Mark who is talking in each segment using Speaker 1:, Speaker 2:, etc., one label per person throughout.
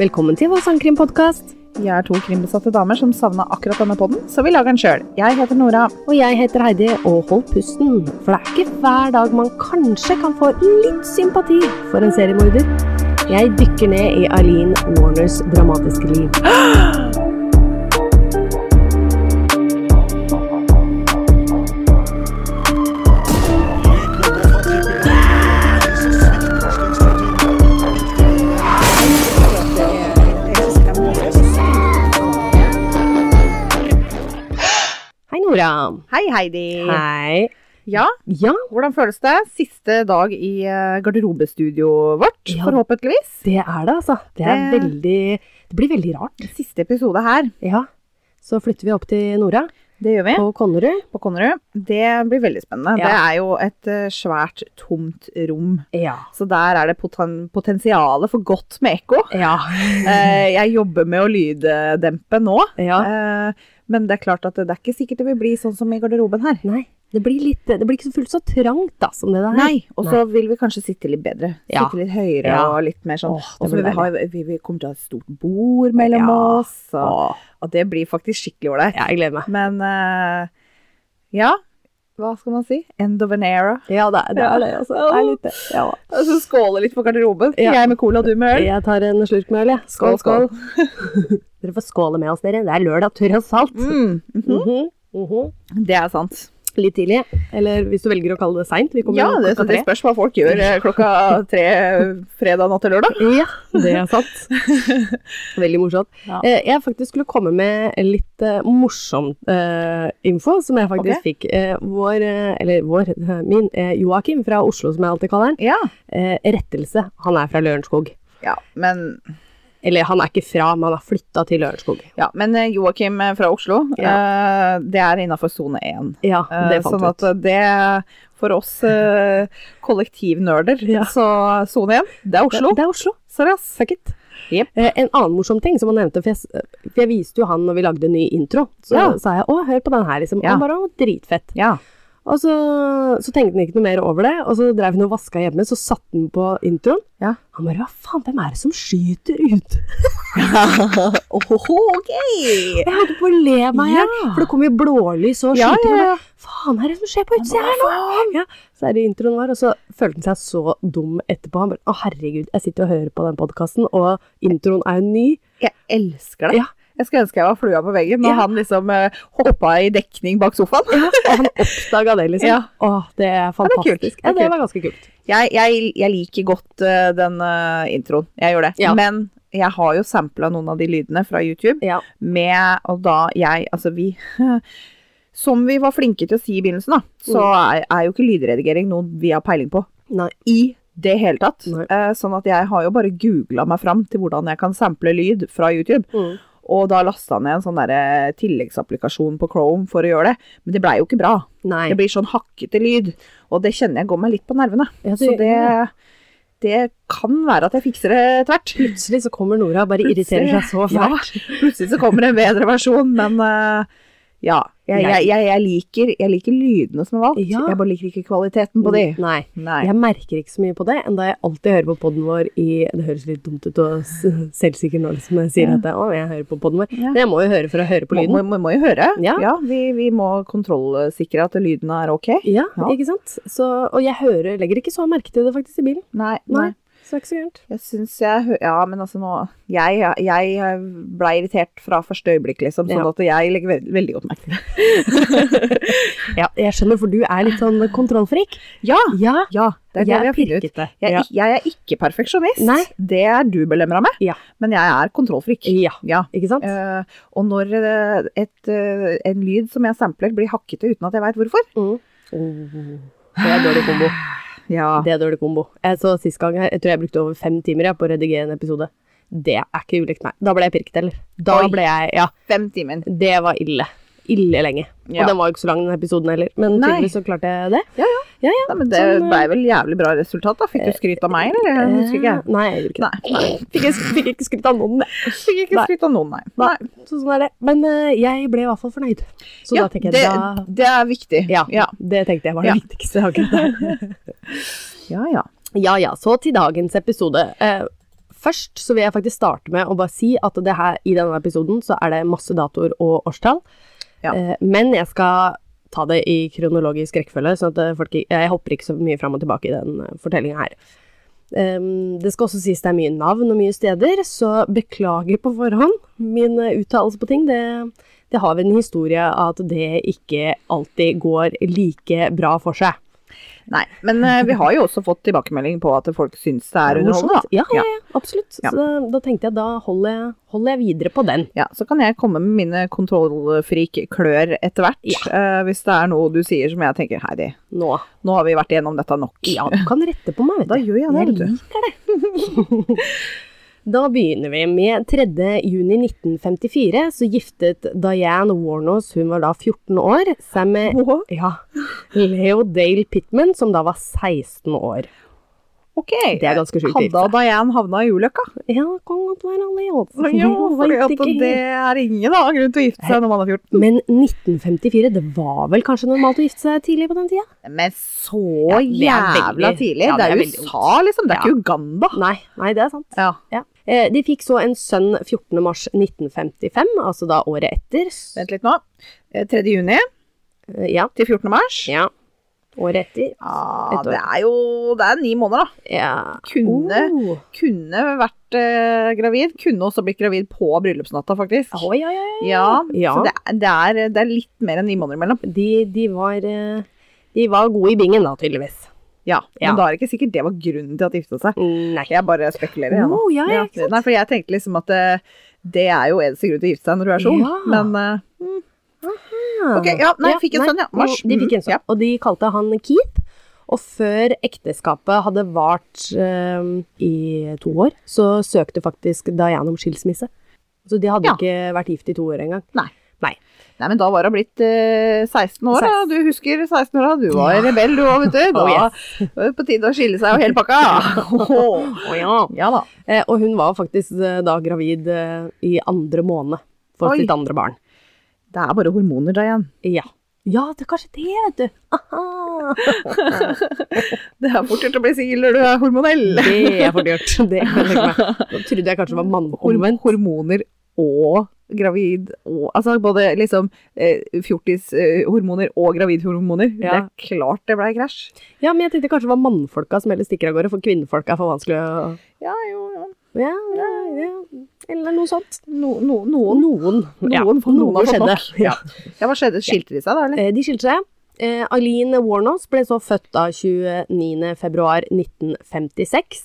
Speaker 1: Velkommen til vår sangkrimpodkast.
Speaker 2: Vi er to krimbesatte damer som savna akkurat denne podden, så vi lager den sjøl. Jeg heter Nora.
Speaker 1: Og jeg heter Heidi, og hold pusten, for det er ikke hver dag man kanskje kan få litt sympati for en seriemorder. Jeg dykker ned i Eileen Warners dramatiske liv. Hei, Nora.
Speaker 2: Hei, Heidi.
Speaker 1: Hei.
Speaker 2: Ja,
Speaker 1: Ja,
Speaker 2: hvordan føles det? Siste dag i eh, garderobestudioet vårt,
Speaker 1: Ja.
Speaker 2: forhåpentligvis.
Speaker 1: det er det, altså. Det er
Speaker 2: Det-
Speaker 1: veldig Det blir veldig rart.
Speaker 2: Siste episode her,
Speaker 1: Ja. Så flytter vi opp til Nora
Speaker 2: det gjør vi
Speaker 1: på Konnerud.
Speaker 2: på Konnerud. Det blir veldig spennende.
Speaker 1: Ja.
Speaker 2: Det er jo et eh, svært tomt rom,
Speaker 1: Ja.
Speaker 2: så der er det poten potensialet for godt med ekko.
Speaker 1: Ja.
Speaker 2: Eh, Jeg jobber med å lyddempe nå.
Speaker 1: ja.
Speaker 2: Eh, Men det er klart at det det er ikke sikkert det vil bli sånn som i garderoben her.
Speaker 1: Nei, det blir, litt, det blir ikke så fullt så trangt da, som det der.
Speaker 2: Nei, og så vil vi kanskje sitte litt bedre.
Speaker 1: Ja.
Speaker 2: Sitte litt høyere
Speaker 1: Ja.
Speaker 2: og litt mer sånn.
Speaker 1: Åh, det
Speaker 2: og så vil
Speaker 1: blir
Speaker 2: vi, ha, vi, vi kommer til å ha et stort bord mellom
Speaker 1: Ja.
Speaker 2: oss. Og, og det blir faktisk skikkelig ålreit.
Speaker 1: Ja, jeg gleder meg.
Speaker 2: Men eh, ja, hva skal man si? End of an era.
Speaker 1: Ja, det, det er det, altså. Det er litt det. Ja.
Speaker 2: Og så skåle litt for garderoben.
Speaker 1: Ja.
Speaker 2: Jeg med cola, du med øl.
Speaker 1: Jeg tar en slurk med øl, jeg. Skål, skål.
Speaker 2: Skål,
Speaker 1: dere får skåle med oss, dere. Det er lørdag, tross alt.
Speaker 2: Mm, mhm.
Speaker 1: Mhm, mhm.
Speaker 2: Det er sant.
Speaker 1: Litt tidlig. Eller hvis du velger å kalle det seint. Vi kommer
Speaker 2: Ja, det,
Speaker 1: klokka tre.
Speaker 2: det spørs hva folk gjør eh, klokka tre fredag natt til lørdag.
Speaker 1: Ja, det er sant. Veldig morsomt.
Speaker 2: Ja.
Speaker 1: Eh, Jeg faktisk skulle komme med litt eh, morsom eh, info, som jeg faktisk fikk. Eh, Vår, eh, eller vår, eh, min, eh, Joakim fra Oslo, som jeg alltid kaller han,
Speaker 2: Ja.
Speaker 1: Eh, rettelse, han er fra Lørenskog.
Speaker 2: ja, men
Speaker 1: Eller han er ikke fra, men han har flytta til Lørenskog.
Speaker 2: Ja, men eh, Joakim eh, fra Oslo, eh, det er innafor sone 1.
Speaker 1: Ja,
Speaker 2: Eh,
Speaker 1: det fant
Speaker 2: sånn
Speaker 1: vi ut.
Speaker 2: at eh, det For oss eh, kollektivnerder,
Speaker 1: Ja.
Speaker 2: så sone 1, det er Oslo.
Speaker 1: Det, det er Oslo.
Speaker 2: Sorry, ass.
Speaker 1: Fuck it.
Speaker 2: Jep.
Speaker 1: Eh, en annen morsom ting som han nevnte, for jeg, s- for jeg viste jo han når vi lagde en ny intro, så
Speaker 2: Ja.
Speaker 1: sa jeg å, hør på den her, liksom.
Speaker 2: Ja.
Speaker 1: Han bare å, dritfett.
Speaker 2: Ja.
Speaker 1: Og så, så tenkte han ikke noe mer over det, og så dreiv han og vaska hjemme, så satte han på introen.
Speaker 2: Ja.
Speaker 1: Han bare hva faen, hvem er det som skyter ute?
Speaker 2: Ohoho, ok!
Speaker 1: Jeg holdt på å le meg i hjel, for det kom jo blålys og
Speaker 2: Ja,
Speaker 1: skyting.
Speaker 2: ja,
Speaker 1: og
Speaker 2: ja.
Speaker 1: bare, Faen, er det som skjer på utsida her nå? Ja, så er det introen vår, og så følte han seg så dum etterpå. Han bare, å herregud, jeg sitter og hører på den podkasten, og introen er jo ny.
Speaker 2: Jeg elsker det.
Speaker 1: Ja.
Speaker 2: Jeg skulle ønske jeg var flua på veggen når
Speaker 1: Ja.
Speaker 2: han liksom eh, hoppa i dekning bak sofaen.
Speaker 1: Og han oppdaga det, liksom.
Speaker 2: Ja.
Speaker 1: Åh, det er
Speaker 2: det er kult.
Speaker 1: fantastisk.
Speaker 2: Det er
Speaker 1: Ja, det
Speaker 2: kult.
Speaker 1: var ganske kult.
Speaker 2: Jeg, jeg, jeg liker godt eh, den eh, introen. Jeg gjør det.
Speaker 1: Ja.
Speaker 2: Men jeg har jo sampla noen av de lydene fra YouTube.
Speaker 1: Ja.
Speaker 2: med Og da jeg Altså, vi Som vi var flinke til å si i begynnelsen, da, så
Speaker 1: Mm.
Speaker 2: er, er jo ikke lydredigering noe vi har peiling på
Speaker 1: Nei.
Speaker 2: i det hele tatt.
Speaker 1: Nei.
Speaker 2: Eh, sånn at jeg har jo bare googla meg fram til hvordan jeg kan sample lyd fra YouTube.
Speaker 1: Mm.
Speaker 2: Og da lasta jeg ned en sånn derre tilleggsapplikasjon på Chrome for å gjøre det. Men det blei jo ikke bra.
Speaker 1: Nei.
Speaker 2: Det blir sånn hakkete lyd. Og det kjenner jeg går meg litt på nervene.
Speaker 1: Ja,
Speaker 2: Så
Speaker 1: det-
Speaker 2: det, det kan være at jeg fikser det tvert.
Speaker 1: Plutselig så kommer Nora og bare irriterer seg så
Speaker 2: Ja.
Speaker 1: fælt.
Speaker 2: Plutselig så kommer det en bedre versjon, men eh, ja. Jeg, jeg, jeg, jeg, liker, jeg liker lydene som er valgt,
Speaker 1: Ja.
Speaker 2: jeg bare liker ikke kvaliteten på de.
Speaker 1: Nei.
Speaker 2: Nei.
Speaker 1: Jeg merker ikke så mye på det, enda jeg alltid hører på podden vår i Det høres litt dumt ut og s- selvsikker nå, liksom, når jeg sier
Speaker 2: Ja.
Speaker 1: at jeg, å, jeg hører på podden vår.
Speaker 2: Ja.
Speaker 1: Men jeg må jo høre for å høre på
Speaker 2: Må, må,
Speaker 1: lyden.
Speaker 2: må, må jo høre.
Speaker 1: Ja.
Speaker 2: vi, vi må kontrollsikre at lyden er ok.
Speaker 1: Ja,
Speaker 2: Ja.
Speaker 1: ikke sant? Så, og jeg hører, legger ikke så merke til det faktisk i bilen.
Speaker 2: Nei, nei.
Speaker 1: Nei. Så det er ikke så gærent.
Speaker 2: Jeg syns jeg hø- Ja, men altså nå Jeg, jeg blei irritert fra første øyeblikk, liksom, sånn
Speaker 1: Ja.
Speaker 2: at jeg legger veldig, veldig godt merke til det.
Speaker 1: Ja, jeg skjønner, for du er litt sånn kontrollfrik.
Speaker 2: Ja!
Speaker 1: Ja,
Speaker 2: Ja, det er det vi
Speaker 1: jeg
Speaker 2: har funnet ut.
Speaker 1: pirkete.
Speaker 2: Jeg,
Speaker 1: Ja.
Speaker 2: jeg er ikke perfeksjonist.
Speaker 1: Nei.
Speaker 2: Det er du belemra med.
Speaker 1: Ja.
Speaker 2: Men jeg er kontrollfrik.
Speaker 1: ja,
Speaker 2: Ja.
Speaker 1: ikke sant?
Speaker 2: Eh, og når eh, et, eh, en lyd som jeg sampler, blir hakkete uten at jeg veit hvorfor
Speaker 1: Mm. Oh, det er dårlig kombo.
Speaker 2: Ja.
Speaker 1: Det er dårlig kombo. Jeg så sist gang her, jeg tror jeg brukte over fem timer jeg, på å redigere en episode. Det er ikke ulikt meg. Da ble jeg pirket, eller? Da
Speaker 2: Oi.
Speaker 1: ble jeg, ja,
Speaker 2: Fem timer.
Speaker 1: det var ille. Ille lenge.
Speaker 2: Ja.
Speaker 1: Og den var jo ikke så lang, den episoden heller. Men
Speaker 2: Nei.
Speaker 1: tydeligvis så klarte jeg det.
Speaker 2: Nei, men det
Speaker 1: Sånn, eh,
Speaker 2: ble vel jævlig bra resultat, da. Fikk du skryt av meg, eller? Jeg husker ikke.
Speaker 1: Eh, Nei, jeg gjorde ikke det. Fikk, jeg- fikk ikke skrytt av noen, det.
Speaker 2: Fikk ikke
Speaker 1: Nei.
Speaker 2: skryt av noen, nei.
Speaker 1: Nei. Så sånn er det. Men eh, jeg ble i hvert fall fornøyd. Så
Speaker 2: Ja,
Speaker 1: da tenker jeg,
Speaker 2: det,
Speaker 1: da...
Speaker 2: det er viktig.
Speaker 1: Ja,
Speaker 2: ja.
Speaker 1: det tenkte jeg var det
Speaker 2: Ja.
Speaker 1: viktigste akkurat der.
Speaker 2: Ja, ja.
Speaker 1: Ja ja, så til dagens episode. Eh, Først så vil jeg faktisk starte med å bare si at det her, i denne episoden så er det masse datoer og årstall.
Speaker 2: Ja.
Speaker 1: Eh, men jeg skal ta det i kronologisk rekkefølge, sånn at eh, folk, ikke- jeg hopper ikke så mye fram og tilbake i den fortellinga her. Ehm, det skal også sies det er mye navn og mye steder, så beklager på forhånd min eh, uttalelse på ting. Det, det har vel en historie av at det ikke alltid går like bra for seg.
Speaker 2: Nei, men eh, vi har jo også fått tilbakemelding på at folk syns det er underholdende, da.
Speaker 1: Ja, ja, ja, absolutt.
Speaker 2: Ja.
Speaker 1: Så da, da tenkte jeg da holder jeg, holder jeg videre på den.
Speaker 2: Ja, så kan jeg komme med mine kontrollfrik-klør etter hvert, eh, hvis det er noe du sier som jeg tenker Heidi,
Speaker 1: Nå.
Speaker 2: nå har vi vært igjennom dette nok.
Speaker 1: Ja, du kan rette på meg, vet du.
Speaker 2: Da gjør jeg det, vet du.
Speaker 1: liker det. da begynner vi med 3. juni 1954, så giftet Diane Warnos, hun var da 14 år, seg med
Speaker 2: Åh,
Speaker 1: ja, Leo Dale Pittman, som da var 16 år.
Speaker 2: Ok.
Speaker 1: Det er ganske sjukt å gifte
Speaker 2: Hadde
Speaker 1: seg.
Speaker 2: Diane havna i ulykka?
Speaker 1: Ja, det kan godt være Leo.
Speaker 2: Ja, fordi
Speaker 1: sånn, Vet
Speaker 2: at
Speaker 1: ikke helt.
Speaker 2: det er ingen annen grunn til å gifte seg når man er 14.
Speaker 1: Men 1954, det var vel kanskje normalt å gifte seg tidlig på den tida?
Speaker 2: Men så
Speaker 1: Ja, det er
Speaker 2: jævla
Speaker 1: veldig-
Speaker 2: tidlig.
Speaker 1: ja,
Speaker 2: det
Speaker 1: det
Speaker 2: er
Speaker 1: er veldig
Speaker 2: USA, liksom. Det er ikke Uganda.
Speaker 1: Nei, nei, det er sant.
Speaker 2: Ja.
Speaker 1: Ja. Eh, De fikk så en sønn 14. mars 1955, altså da året etter. S-
Speaker 2: Vent litt nå. Eh, 3. juni
Speaker 1: eh, Ja.
Speaker 2: til Ah, 14. mars.
Speaker 1: ja. Året etter.
Speaker 2: Ja,
Speaker 1: Et år.
Speaker 2: det er jo det er ni måneder, da.
Speaker 1: Ja.
Speaker 2: Kunne,
Speaker 1: Oh.
Speaker 2: kunne vært eh, gravid. Kunne også blitt gravid på bryllupsnatta, faktisk.
Speaker 1: Oi, oi, oi.
Speaker 2: Ja,
Speaker 1: Ja.
Speaker 2: Så det er, det, er, det er litt mer enn ni måneder imellom.
Speaker 1: De, de, var, eh, de var gode i bingen da, tydeligvis.
Speaker 2: Ja,
Speaker 1: Ja.
Speaker 2: Men da er det ikke sikkert det var grunnen til at de gifta seg.
Speaker 1: Nei.
Speaker 2: Jeg bare spekulerer, jeg nå.
Speaker 1: Oh, ja, ja, ikke sant?
Speaker 2: Nei, for jeg tenkte liksom at eh, det er jo eneste grunn til å gifte seg når du er så ung.
Speaker 1: Ja.
Speaker 2: Men eh, ok, ja, nei, fikk en sønn, ja. Mars.
Speaker 1: De fikk en
Speaker 2: Mhm,
Speaker 1: sønn,
Speaker 2: ja.
Speaker 1: og de kalte han Keith. Og før ekteskapet hadde vart eh, i to år, så søkte faktisk Diane om skilsmisse. Så de hadde
Speaker 2: Ja.
Speaker 1: ikke vært gift i to år engang.
Speaker 2: Nei.
Speaker 1: Nei.
Speaker 2: Nei, men da var hun blitt eh, 16 år, da.
Speaker 1: Seks.
Speaker 2: Du husker 16 år, da. Du var rebell, du òg, vet du. Da
Speaker 1: Oh,
Speaker 2: var det på tide å skille seg og hele pakka. Åh.
Speaker 1: Å ja.
Speaker 2: ja da.
Speaker 1: Eh, og hun var faktisk eh, da gravid eh, i andre måned for
Speaker 2: Oi.
Speaker 1: sitt andre barn.
Speaker 2: Det er bare hormoner, da, igjen.
Speaker 1: Ja. Ja, det er kanskje det, vet du. Aha.
Speaker 2: Det er fort gjort å bli singel når du er hormonell.
Speaker 1: Det er for dyrt. Det kan jeg tenke meg. Da trodde jeg kanskje det var
Speaker 2: Horm
Speaker 1: manneomvendt.
Speaker 2: hormoner og gravid og Altså både liksom eh, fjortishormoner og gravidhormoner. Det
Speaker 1: Ja.
Speaker 2: er klart det blei krasj.
Speaker 1: Ja, men jeg tenkte kanskje det var mannfolka som heller stikker av gårde, for kvinnfolka er for vanskelig å
Speaker 2: Ja, jo, ja.
Speaker 1: Ja, ja, ja. Eller noe sånt.
Speaker 2: No, no, noen.
Speaker 1: Noen. Ja,
Speaker 2: Noen- noen har fått
Speaker 1: skjedde.
Speaker 2: nok. Ja. ja, hva skjedde? Skilte de seg da, eller?
Speaker 1: Eh, De skilte seg. Eh, Eileen Warnos ble så født da 29.2.1956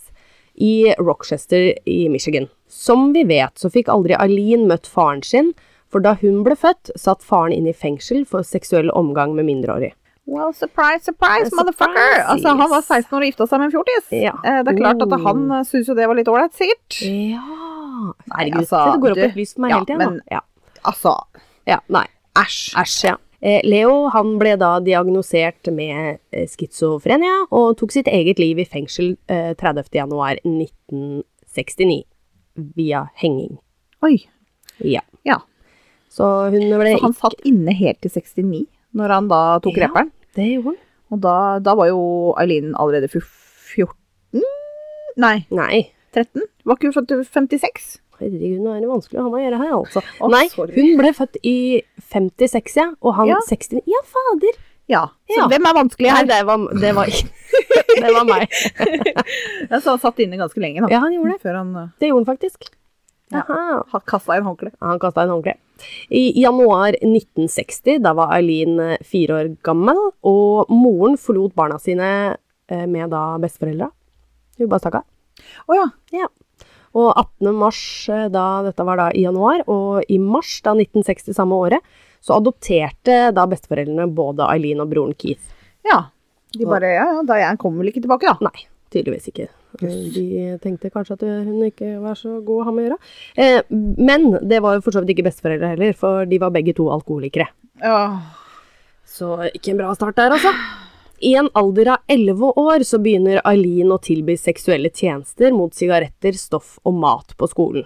Speaker 1: i Rochester i Michigan. Som vi vet, så fikk aldri Eileen møtt faren sin, for da hun ble født, satt faren inn i fengsel for seksuell omgang med mindreårig.
Speaker 2: Well, surprise, surprise,
Speaker 1: Eh,
Speaker 2: motherfucker!
Speaker 1: surprise.
Speaker 2: Altså, han var 16 år og gifta seg med en fjortis.
Speaker 1: Ja.
Speaker 2: Eh, det er klart at
Speaker 1: Oh.
Speaker 2: han eh, syntes jo det var litt ålreit, sikkert.
Speaker 1: Ja
Speaker 2: Nei,
Speaker 1: Herregud,
Speaker 2: altså,
Speaker 1: det går opp
Speaker 2: du-
Speaker 1: et lys for meg
Speaker 2: ja,
Speaker 1: hele tida,
Speaker 2: men-
Speaker 1: da. Ja.
Speaker 2: Altså,
Speaker 1: ja, nei.
Speaker 2: æsj.
Speaker 1: Æsj, ja. Eh, Leo han ble da diagnosert med eh, schizofrenia og tok sitt eget liv i fengsel eh, 30. januar 1969 via henging.
Speaker 2: Oi.
Speaker 1: Ja.
Speaker 2: Ja.
Speaker 1: Så hun ble
Speaker 2: Så han satt inne helt til 69 når han da tok
Speaker 1: Ja.
Speaker 2: reperen.
Speaker 1: Det gjorde han.
Speaker 2: Og da, da var jo Eileen allerede fu- 14 Nei,
Speaker 1: Nei.
Speaker 2: 13? Var ikke hun født i 56?
Speaker 1: Herregud, nå er det vanskelig å ha med å gjøre her, altså.
Speaker 2: Å,
Speaker 1: Nei,
Speaker 2: sorry.
Speaker 1: hun ble født i 56, ja, og han
Speaker 2: Ja.
Speaker 1: 69. Ja, fader!
Speaker 2: Ja. Så
Speaker 1: Ja.
Speaker 2: hvem er vanskelig
Speaker 1: Nei,
Speaker 2: her?
Speaker 1: det var, det var, det var meg.
Speaker 2: Ja, Så Altså, han satt inne ganske lenge, da.
Speaker 1: Ja, han gjorde det.
Speaker 2: Før han eh,
Speaker 1: Det gjorde han faktisk.
Speaker 2: Ja.
Speaker 1: Aha.
Speaker 2: kasta inn håndkle.
Speaker 1: Han kasta en håndkle. I januar 1960, da var Eileen eh, fire år gammel, og moren forlot barna sine eh, med da besteforeldra. Hun bare stakk av.
Speaker 2: Å ja.
Speaker 1: Og 18. mars, eh, da, dette var da i januar, og i mars da 1960 samme året, så adopterte da besteforeldrene både Eileen og broren Keith.
Speaker 2: Ja. De bare Ja, ja, da jeg kommer vel ikke tilbake, da.
Speaker 1: Nei, tydeligvis ikke. Eh, De tenkte kanskje at hun ikke var så god å ha med å gjøre. Eh, Men det var jo for så vidt ikke besteforeldre heller, for de var begge to alkoholikere.
Speaker 2: Åh.
Speaker 1: Så ikke en bra start der, altså. I en alder av 11 år så begynner Eileen å tilby seksuelle tjenester mot sigaretter, stoff og mat på skolen.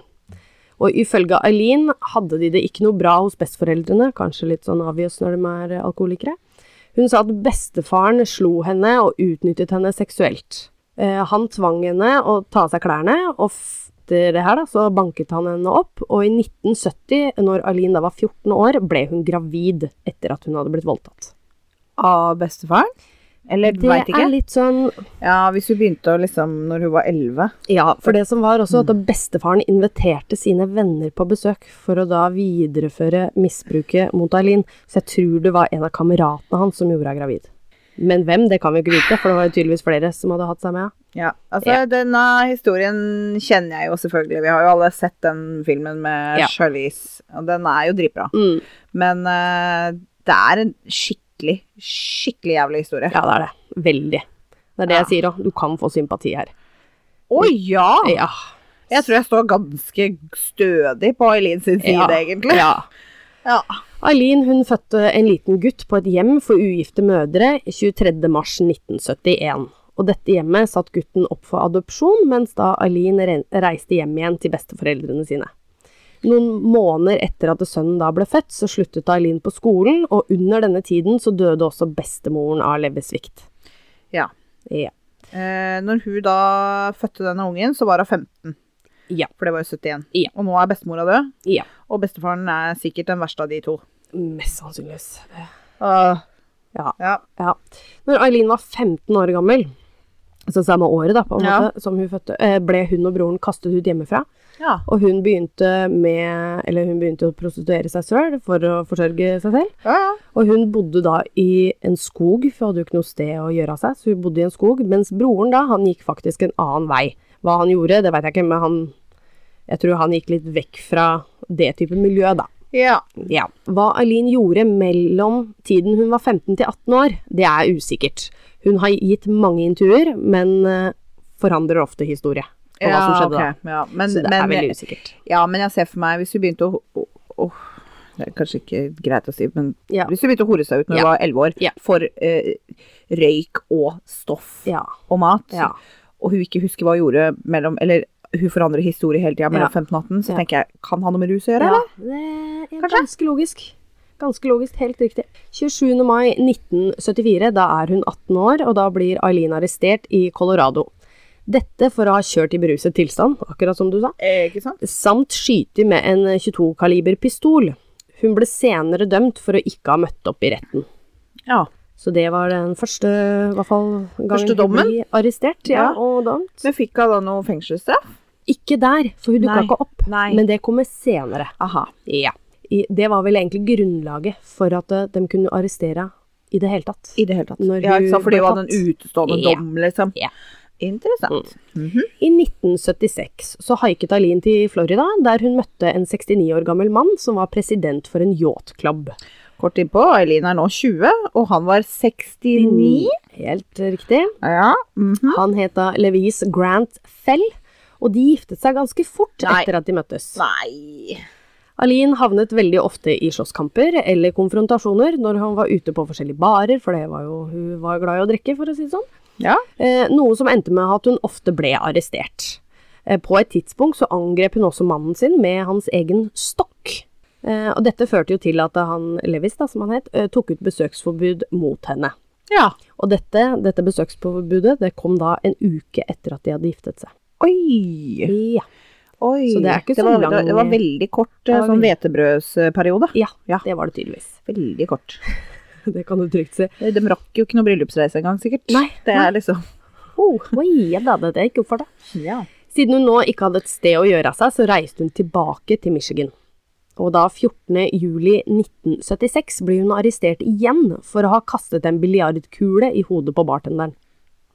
Speaker 1: Og ifølge Eileen hadde de det ikke noe bra hos besteforeldrene, kanskje litt sånn obvious når de er alkoholikere. Hun sa at bestefaren slo henne og utnyttet henne seksuelt. Eh, han tvang henne å ta av seg klærne, og f etter det her, da, så banket han henne opp, og i 1970, når Aline da var 14 år, ble hun gravid etter at hun hadde blitt voldtatt.
Speaker 2: Av bestefaren? Eller
Speaker 1: Det
Speaker 2: veit ikke.
Speaker 1: er litt sånn
Speaker 2: Ja, hvis hun begynte å liksom når hun var elleve.
Speaker 1: Ja, for det som var også at bestefaren inviterte sine venner på besøk for å da videreføre misbruket mot Eileen. Så jeg tror det var en av kameratene hans som gjorde henne gravid. Men hvem, det kan vi ikke vite, for det var jo tydeligvis flere som hadde hatt seg med.
Speaker 2: Ja, altså denne historien kjenner jeg jo selvfølgelig. Vi har jo alle sett den filmen med
Speaker 1: Ja.
Speaker 2: Charlize, og den er jo dritbra.
Speaker 1: Mm.
Speaker 2: Men eh, det er en skikkelig, skikkelig jævlig historie.
Speaker 1: Ja, det er det. Veldig. Det er det
Speaker 2: Ja.
Speaker 1: jeg sier òg. Du kan få sympati her.
Speaker 2: Å ja!
Speaker 1: Ja.
Speaker 2: Jeg tror jeg står ganske stødig på Eileen sin side, egentlig.
Speaker 1: Ja.
Speaker 2: Ja.
Speaker 1: Eileen hun fødte en liten gutt på et hjem for ugifte mødre 23.3.1971. Og dette hjemmet satt gutten opp for adopsjon, mens da Eileen re- reiste hjem igjen til besteforeldrene sine. Noen måneder etter at sønnen da ble født, så sluttet Eileen på skolen, og under denne tiden så døde også bestemoren av leversvikt.
Speaker 2: Ja.
Speaker 1: Ja.
Speaker 2: Eh, når hun da fødte denne ungen, så var hun 15.
Speaker 1: Ja.
Speaker 2: For det var jo 71.
Speaker 1: Ja.
Speaker 2: Og nå er bestemora død,
Speaker 1: Ja.
Speaker 2: og bestefaren er sikkert den verste av de to.
Speaker 1: Mest sannsynligvis.
Speaker 2: Åh.
Speaker 1: Ah, Ja.
Speaker 2: ja.
Speaker 1: Ja. Når Eileen var 15 år gammel, så samme året da, på en
Speaker 2: Ja.
Speaker 1: måte, som hun fødte, eh, ble hun og broren kastet ut hjemmefra.
Speaker 2: Ja.
Speaker 1: Og hun begynte, med, eller hun begynte å prostituere seg sjøl for å forsørge seg selv.
Speaker 2: Ja, ja.
Speaker 1: Og hun bodde da i en skog, for hun hadde jo ikke noe sted å gjøre av seg, så hun bodde i en skog. Mens broren da, han gikk faktisk en annen vei. Hva han gjorde, det veit jeg ikke, men han Jeg tror han gikk litt vekk fra det type miljø, da.
Speaker 2: ja.
Speaker 1: Ja. Hva Eileen gjorde mellom tiden hun var 15 til 18 år, det er usikkert. Hun har gitt mange intervjuer, men eh, forandrer ofte historie om hva som skjedde
Speaker 2: ok, Ja. Men,
Speaker 1: da. Så det
Speaker 2: men,
Speaker 1: er veldig usikkert.
Speaker 2: Ja, men jeg ser for meg hvis hun begynte å å- å- Det er kanskje ikke greit å si, men
Speaker 1: Ja.
Speaker 2: hvis hun begynte å hore seg ut når hun
Speaker 1: Ja.
Speaker 2: var elleve år
Speaker 1: Ja.
Speaker 2: for eh, røyk og stoff
Speaker 1: Ja.
Speaker 2: og mat,
Speaker 1: Ja.
Speaker 2: og hun ikke husker hva hun gjorde mellom Eller hun forandrer historie hele tida mellom
Speaker 1: Ja.
Speaker 2: 15 og 18, så
Speaker 1: Ja.
Speaker 2: tenker jeg Kan ha noe med rus å gjøre,
Speaker 1: Ja,
Speaker 2: eller?
Speaker 1: det er
Speaker 2: Kanskje?
Speaker 1: ganske logisk. Ganske logisk, helt riktig. 27. mai 1974, da er hun 18 år, og da blir Eileen arrestert i Colorado. Dette for å ha kjørt i beruset tilstand, akkurat som du sa.
Speaker 2: ikke sant?
Speaker 1: samt skyte med en 22-kaliber pistol. Hun ble senere dømt for å ikke ha møtt opp i retten.
Speaker 2: Ja.
Speaker 1: Så det var den første, i hvert fall, gangen
Speaker 2: Første dommen?
Speaker 1: hun ble arrestert ja,
Speaker 2: Ja.
Speaker 1: og dømt.
Speaker 2: Men fikk hun da noe fengselsstraff?
Speaker 1: Ikke der, for hun dukka
Speaker 2: Nei.
Speaker 1: ikke opp.
Speaker 2: Nei.
Speaker 1: Men det kommer senere.
Speaker 2: Aha.
Speaker 1: Ja. I, det var vel egentlig grunnlaget for at eh, de kunne arrestere i det hele tatt.
Speaker 2: I det hele tatt.
Speaker 1: Når
Speaker 2: ja,
Speaker 1: hun
Speaker 2: ikke sant? For det
Speaker 1: ble
Speaker 2: var den utestående
Speaker 1: Ja.
Speaker 2: dom, liksom.
Speaker 1: Ja. Mm.
Speaker 2: Interessant.
Speaker 1: I 1976 så haiket Aline til Florida, der hun møtte en 69 år gammel mann som var president for en yachtclub.
Speaker 2: Kort innpå, Eileen er nå 20, og han var 69.
Speaker 1: Helt riktig.
Speaker 2: Ja. mhm.
Speaker 1: Han het da Levis Grant Fell, og de giftet seg ganske fort
Speaker 2: Nei.
Speaker 1: etter at de møttes.
Speaker 2: Nei.
Speaker 1: Aline havnet veldig ofte i slåsskamper eller konfrontasjoner når hun var ute på forskjellige barer, for det var jo, hun var glad i å drikke, for å si det sånn.
Speaker 2: Ja.
Speaker 1: Eh, noe som endte med at hun ofte ble arrestert. Eh, på et tidspunkt så angrep hun også mannen sin med hans egen stokk. Eh, og dette førte jo til at han, Levis da, som han het, eh, tok ut besøksforbud mot henne.
Speaker 2: Ja.
Speaker 1: Og dette, dette besøksforbudet det kom da en uke etter at de hadde giftet seg.
Speaker 2: Oi.
Speaker 1: Ja.
Speaker 2: Oi.
Speaker 1: Så det er ikke så
Speaker 2: var,
Speaker 1: lang-
Speaker 2: Det var veldig kort
Speaker 1: Det
Speaker 2: eh,
Speaker 1: var
Speaker 2: sånn
Speaker 1: veldig-
Speaker 2: hvetebrødsperiode.
Speaker 1: ja,
Speaker 2: Ja.
Speaker 1: det var det tydeligvis.
Speaker 2: Veldig kort. Eh,
Speaker 1: Det kan du trygt si.
Speaker 2: De rakk jo ikke noe bryllupsreise engang, sikkert.
Speaker 1: Nei,
Speaker 2: Det er liksom oh.
Speaker 1: Oi, ja da, dette gikk opp for deg.
Speaker 2: Ja.
Speaker 1: Siden hun nå ikke hadde et sted å gjøre av seg, så reiste hun tilbake til Michigan. Og da 14. juli 1976 ble hun arrestert igjen for å ha kastet en biljardkule i hodet på bartenderen.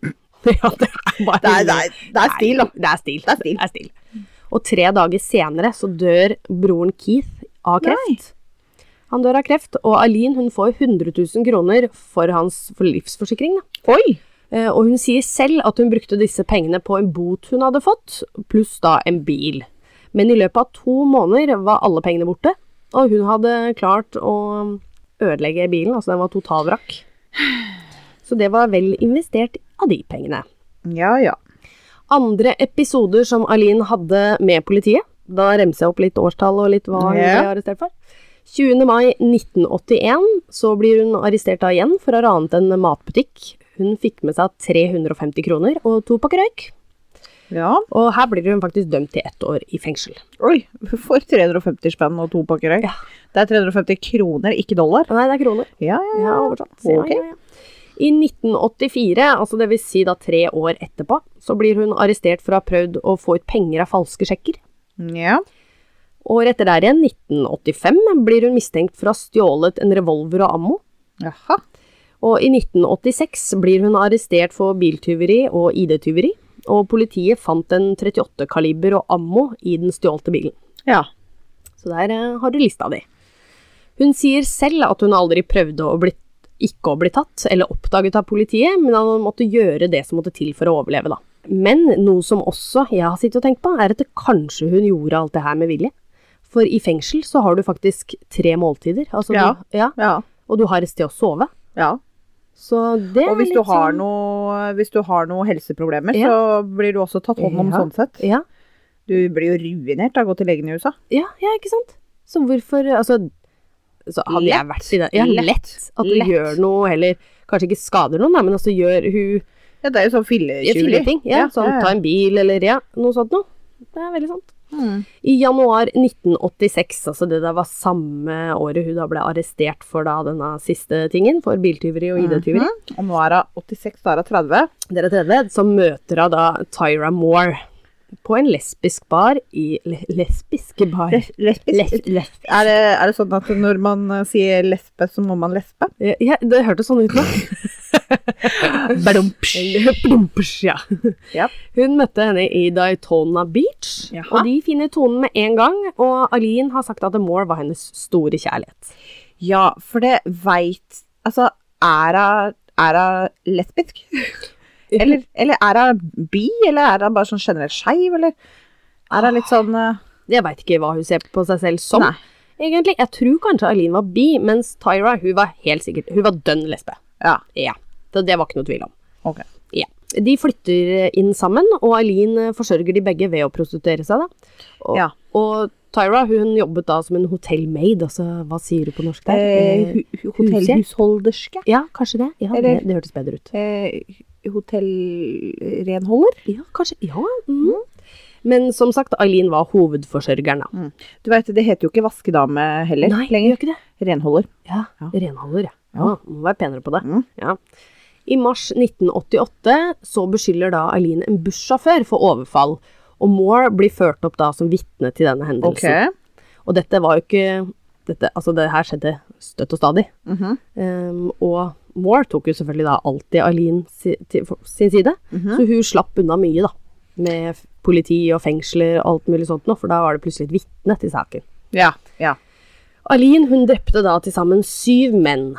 Speaker 1: Ja, det er bare
Speaker 2: Det er, det er, det er stil, da.
Speaker 1: Nei, Det er stil.
Speaker 2: Det er stil.
Speaker 1: Og tre dager senere så dør broren Keith av kreft. Han dør av kreft, og Aline hun får 100 000 kroner for hans for livsforsikring. Da.
Speaker 2: Oi.
Speaker 1: Eh, Og hun sier selv at hun brukte disse pengene på en bot hun hadde fått, pluss da en bil. Men i løpet av to måneder var alle pengene borte, og hun hadde klart å ødelegge bilen, altså den var totalvrakk. Så det var vel investert av de pengene
Speaker 2: Ja, ja.
Speaker 1: andre episoder som Aline hadde med politiet. Da remser jeg opp litt årstall og litt hva hun
Speaker 2: Ja.
Speaker 1: ble arrestert for. 20. mai 1981 så blir hun arrestert da igjen for å ha ranet en matbutikk. Hun fikk med seg 350 kroner og to pakker røyk.
Speaker 2: Ja.
Speaker 1: Og her blir hun faktisk dømt til ett år i fengsel.
Speaker 2: Oi, for 350 spenn og to pakker røyk.
Speaker 1: Ja.
Speaker 2: Det er 350 kroner, ikke dollar.
Speaker 1: Nei, det er kroner.
Speaker 2: Ja, ja,
Speaker 1: Ja, oversatt. Ja,
Speaker 2: Ok.
Speaker 1: ja, ja. I 1984, altså det vil si da tre år etterpå, så blir hun arrestert for å ha prøvd å få ut penger av falske sjekker.
Speaker 2: ja.
Speaker 1: Året etter der igjen, 1985, blir hun mistenkt for å ha stjålet en revolver og ammo.
Speaker 2: Jaha.
Speaker 1: Og i 1986 blir hun arrestert for biltyveri og ID-tyveri, og politiet fant en 38-kaliber og ammo i den stjålte bilen.
Speaker 2: Ja.
Speaker 1: Så der eh, har du lista di. Hun sier selv at hun aldri prøvde å bli, ikke å bli tatt eller oppdaget av politiet, men at hun måtte gjøre det som måtte til for å overleve, da. Men noe som også jeg har sittet og tenkt på, er at det kanskje hun gjorde alt det her med vilje. For i fengsel så har du faktisk tre måltider, altså
Speaker 2: Ja.
Speaker 1: Du, ja,
Speaker 2: ja.
Speaker 1: og du har et sted å sove.
Speaker 2: ja.
Speaker 1: Så det
Speaker 2: Og
Speaker 1: er
Speaker 2: hvis
Speaker 1: litt
Speaker 2: du har
Speaker 1: sånn-
Speaker 2: noe, hvis du har noe helseproblemer,
Speaker 1: Ja.
Speaker 2: så blir du også tatt hånd om
Speaker 1: Ja.
Speaker 2: sånn sett.
Speaker 1: Ja,
Speaker 2: Du blir jo ruinert av å gå til legen i USA.
Speaker 1: ja, ja ikke sant? Så hvorfor Altså, så hadde jeg
Speaker 2: Lett.
Speaker 1: vært i den Ja,
Speaker 2: Lett.
Speaker 1: lett. At du
Speaker 2: Lett.
Speaker 1: gjør noe heller Kanskje ikke skader noen, da, men altså gjør hun
Speaker 2: Ja, det er jo sånn filletyveri.
Speaker 1: filleting. Ja, sånn ta en bil eller ja, noe sånt noe. Det er veldig sant.
Speaker 2: Mm.
Speaker 1: I januar 1986, altså det der var samme året hun da ble arrestert for da denne siste tingen, for biltyveri og ID-tyveri,
Speaker 2: Mhm. Og nå er hun 86, da er hun 30.
Speaker 1: dere tredje, så møter hun da Tyra Moore på en lesbisk bar i le Lesbiske bar?
Speaker 2: Les
Speaker 1: Les
Speaker 2: lesbisk.
Speaker 1: les
Speaker 2: Er, det, er det sånn at når man eh, sier lesbe, så må man lesbe?
Speaker 1: Ja, Ja, det hørtes sånn ut nå. Badumps, ja.
Speaker 2: Ja.
Speaker 1: Hun møtte henne i Daytona Beach,
Speaker 2: Jaha.
Speaker 1: og de finner tonen med en gang. Og Aline har sagt at Moore var hennes store kjærlighet.
Speaker 2: Ja, for det veit Altså, er hun er hun lesbisk? Eller, eller er hun bi, eller er hun bare sånn generelt skeiv, eller? Er hun litt sånn eh,
Speaker 1: Jeg veit ikke hva hun ser på seg selv som.
Speaker 2: Nei.
Speaker 1: Egentlig, Jeg tror kanskje Aline var bi, mens Tyra hun var helt sikkert, hun var dønn lesbe.
Speaker 2: Ja.
Speaker 1: Ja, så Det var ikke noe tvil om.
Speaker 2: Ok.
Speaker 1: Ja. De flytter inn sammen, og Aline forsørger de begge ved å prostituere seg. da. Og,
Speaker 2: Ja.
Speaker 1: og Tyra hun jobbet da som en hotellmaid, altså hva sier du på norsk der?
Speaker 2: Eh,
Speaker 1: Eh,
Speaker 2: hu- hu- Hotellhusholderske?
Speaker 1: ja, kanskje det. Ja,
Speaker 2: eller-
Speaker 1: det, det hørtes bedre ut.
Speaker 2: Eh, Hotellrenholder?
Speaker 1: Ja, kanskje. Ja. Mm. Men som sagt, Aline var hovedforsørgeren da.
Speaker 2: Du veit, det heter jo ikke vaskedame heller
Speaker 1: Nei, gjør
Speaker 2: lenger.
Speaker 1: ikke det.
Speaker 2: Renholder.
Speaker 1: Ja,
Speaker 2: Ja.
Speaker 1: renholder, ja.
Speaker 2: Ja.
Speaker 1: ja. Må være penere på det.
Speaker 2: Mm.
Speaker 1: Ja. I mars 1988 så beskylder da Aline en bussjåfør for overfall, og Moore blir ført opp da som vitne til denne hendelsen. Og dette var jo ikke dette, Altså, det her skjedde støtt og stadig.
Speaker 2: Mhm.
Speaker 1: Ehm, og Moore tok jo selvfølgelig da alltid Aline si, til, for- sin side,
Speaker 2: Mhm.
Speaker 1: så hun slapp unna mye, da. Med f- politi og fengsler og alt mulig sånt noe, for da var det plutselig et vitne til saken.
Speaker 2: Ja. ja.
Speaker 1: Aline hun drepte da til sammen syv menn,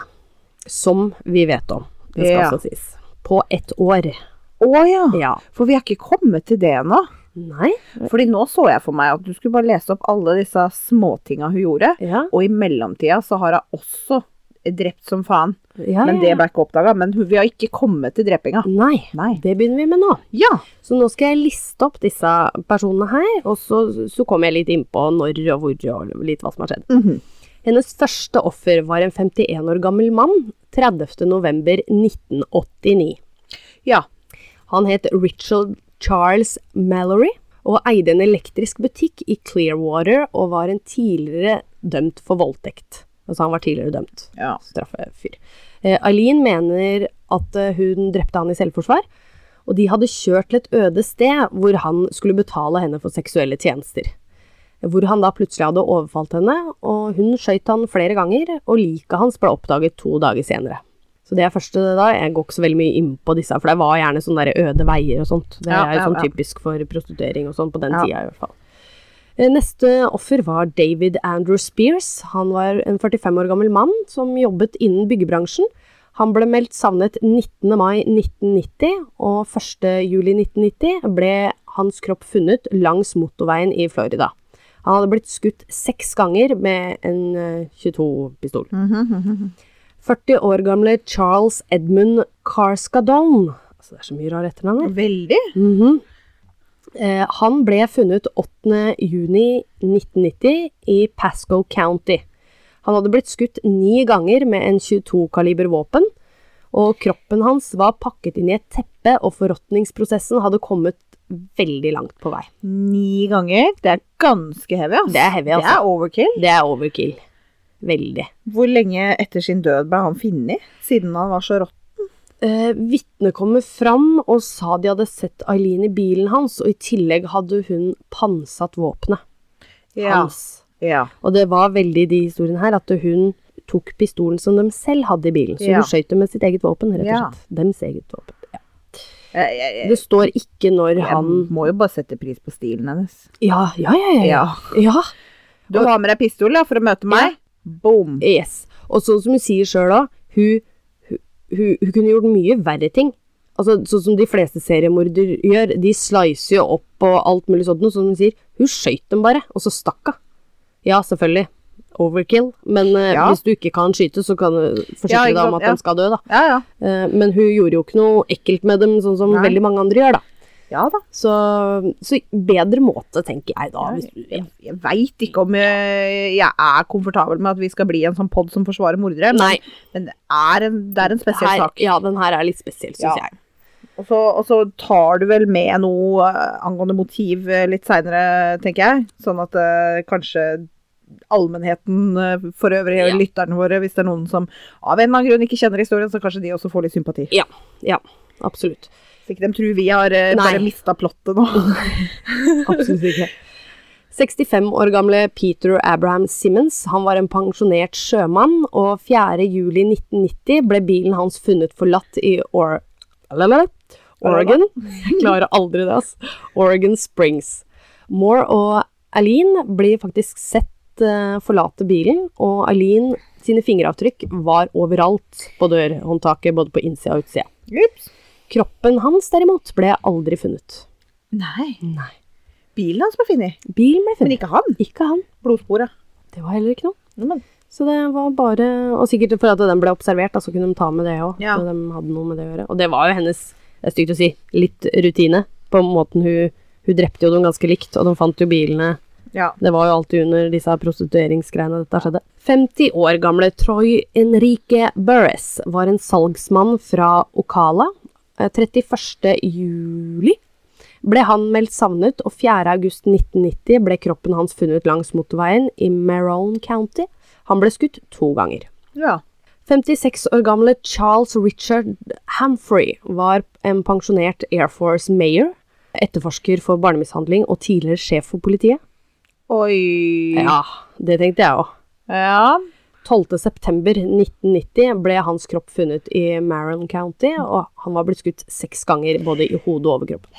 Speaker 1: som vi vet om. Det skal
Speaker 2: Ja.
Speaker 1: også sies. På ett år.
Speaker 2: Å ja.
Speaker 1: Ja.
Speaker 2: For vi er ikke kommet til det ennå.
Speaker 1: Nei.
Speaker 2: Fordi nå så jeg for meg at du skulle bare lese opp alle disse småtinga hun gjorde.
Speaker 1: Ja.
Speaker 2: Og i mellomtida så har hun også drept som faen.
Speaker 1: ja
Speaker 2: Men
Speaker 1: ja,
Speaker 2: det
Speaker 1: ja.
Speaker 2: ble ikke oppdaga. Men hun- vi har ikke kommet til drepinga.
Speaker 1: Nei.
Speaker 2: Nei.
Speaker 1: Det begynner vi med nå.
Speaker 2: Ja.
Speaker 1: Så nå skal jeg liste opp disse personene her, og så, så kommer jeg litt innpå når og hvor og litt hva som har skjedd.
Speaker 2: Mhm.
Speaker 1: Hennes første offer var en 51 år gammel mann 30. november 1989.
Speaker 2: Ja.
Speaker 1: Han het Richard Charles Mallory og eide en elektrisk butikk i Clearwater og var en tidligere dømt for voldtekt. Altså han var tidligere dømt.
Speaker 2: Ja.
Speaker 1: Straffefyr. Eh, Aline mener at eh, hun drepte han i selvforsvar, og de hadde kjørt til et øde sted hvor han skulle betale henne for seksuelle tjenester. Hvor han da plutselig hadde overfalt henne, og hun skøyt han flere ganger, og liket hans ble oppdaget to dager senere. Så det er første da, jeg går ikke så veldig mye inn på disse, for det var gjerne sånne der øde veier og sånt. Det
Speaker 2: Ja,
Speaker 1: er jo
Speaker 2: ja,
Speaker 1: sånn
Speaker 2: ja.
Speaker 1: typisk for prostituering og sånn på den
Speaker 2: Ja.
Speaker 1: tida i hvert fall. Eh, Neste offer var David Andrew Spears. Han var en 45 år gammel mann som jobbet innen byggebransjen. Han ble meldt savnet 19. mai 1990, og 1. juli 1990 ble hans kropp funnet langs motorveien i Florida. Han hadde blitt skutt seks ganger med en eh, 22-pistol. 40 år gamle Charles Edmund Carskadon. Altså, det er så mye rar etternavn her.
Speaker 2: Veldig.
Speaker 1: Mhm. eh, han ble funnet 8. juni 1990 i Pasco County. Han hadde blitt skutt ni ganger med en 22-kaliber våpen, og kroppen hans var pakket inn i et teppe, og forråtningsprosessen hadde kommet veldig langt på vei.
Speaker 2: Ni ganger. Det er ganske heavy, ass.
Speaker 1: Det er heavy,
Speaker 2: Det
Speaker 1: altså.
Speaker 2: er overkill.
Speaker 1: Det er overkill. Veldig.
Speaker 2: Hvor lenge etter sin død ble han funnet? Siden han var så rått.
Speaker 1: Eh, Vitnet kommer fram og sa de hadde sett Eileen i bilen hans, og i tillegg hadde hun pantsatt våpenet hans.
Speaker 2: Ja.
Speaker 1: Og det var veldig i de historiene her at hun tok pistolen som de selv hadde i bilen. Så
Speaker 2: Ja.
Speaker 1: hun skjøt dem med sitt eget våpen, rett og
Speaker 2: Ja.
Speaker 1: slett. Dems eget våpen. Ja.
Speaker 2: Jeg, jeg, jeg,
Speaker 1: Det står ikke når han
Speaker 2: jeg må jo bare sette pris på stilen hennes.
Speaker 1: Ja, ja, ja. ja, ja.
Speaker 2: Ja.
Speaker 1: ja.
Speaker 2: Du har med deg pistol da, for å møte meg? Boom.
Speaker 1: Yes. Og sånn som hun sier sjøl òg, hun, hun, hun, hun kunne gjort mye verre ting. Altså, sånn som de fleste seriemorder gjør. De slicer jo opp og alt mulig sånt. Og som hun sier, hun skøyt dem bare, og så stakk hun. Ja, selvfølgelig. Overkill. Men eh,
Speaker 2: Ja.
Speaker 1: hvis du ikke kan skyte, så kan du
Speaker 2: Ja,
Speaker 1: forsikre
Speaker 2: ikke
Speaker 1: deg om
Speaker 2: sant,
Speaker 1: at
Speaker 2: ja.
Speaker 1: de skal dø, da.
Speaker 2: Ja, ja.
Speaker 1: Eh, men hun gjorde jo ikke noe ekkelt med dem, sånn som
Speaker 2: Nei.
Speaker 1: veldig mange andre gjør, da.
Speaker 2: Ja da.
Speaker 1: Så, så bedre måte, tenker jeg da. Hvis du,
Speaker 2: Jeg, jeg veit ikke om eh, jeg, jeg er komfortabel med at vi skal bli en sånn pod som forsvarer mordere, men,
Speaker 1: Nei,
Speaker 2: men det, er en, det er en spesiell
Speaker 1: her,
Speaker 2: sak.
Speaker 1: ja, den her er litt spesiell,
Speaker 2: Ja.
Speaker 1: syns jeg.
Speaker 2: Og så, og så tar du vel med noe eh, angående motiv eh, litt seinere, tenker jeg. Sånn at eh, kanskje allmennheten eh, for øvrig,
Speaker 1: Ja.
Speaker 2: og lytterne våre, hvis det er noen som av en eller annen grunn ikke kjenner historien, så kanskje de også får litt sympati.
Speaker 1: Ja. Ja, absolutt.
Speaker 2: Så ikke de tror vi har
Speaker 1: Nei.
Speaker 2: eh, bare mista plottet nå.
Speaker 1: Absolutt ikke. 65 år gamle Peter Abraham Simmons han var en pensjonert sjømann, og 4. juli 1990 ble bilen hans funnet forlatt i Or Lalalala. Oregon. Jeg klarer aldri det, altså. Oregon Springs. Moore og Aline blir faktisk sett eh, forlate bilen, og Aline sine fingeravtrykk var overalt på dørhåndtaket, både på innsida og utsida.
Speaker 2: Ups.
Speaker 1: Kroppen hans derimot ble aldri funnet.
Speaker 2: Nei.
Speaker 1: Nei.
Speaker 2: Bilen hans ble funnet,
Speaker 1: Bilen ble funnet.
Speaker 2: men ikke han.
Speaker 1: Ikke han.
Speaker 2: Blodsporet.
Speaker 1: Det var heller ikke noe.
Speaker 2: Ja, men-
Speaker 1: Så det var bare Og sikkert for at den ble observert, da, så kunne de ta med det òg.
Speaker 2: Ja.
Speaker 1: De hadde noe med det å gjøre. Og det var jo hennes, det er stygt å si, litt rutine på måten hun Hun drepte jo dem ganske likt, og de fant jo bilene
Speaker 2: Ja.
Speaker 1: Det var jo alltid under disse prostitueringsgreiene dette skjedde. 50 år gamle Troy Enrique Burress var en salgsmann fra Ocala. Eh, 31. juli ble han meldt savnet, og 4. august 1990 ble kroppen hans funnet langs motorveien i Maron County. Han ble skutt to ganger.
Speaker 2: ja.
Speaker 1: 56 år gamle Charles Richard Humphrey var en pensjonert Air Force Mayor, etterforsker for barnemishandling og tidligere sjef for politiet.
Speaker 2: Oi.
Speaker 1: Ja, det tenkte jeg òg.
Speaker 2: Ja.
Speaker 1: 12.9.1990 ble hans kropp funnet i Maron County, og han var blitt skutt seks ganger, både i hodet og overkroppen.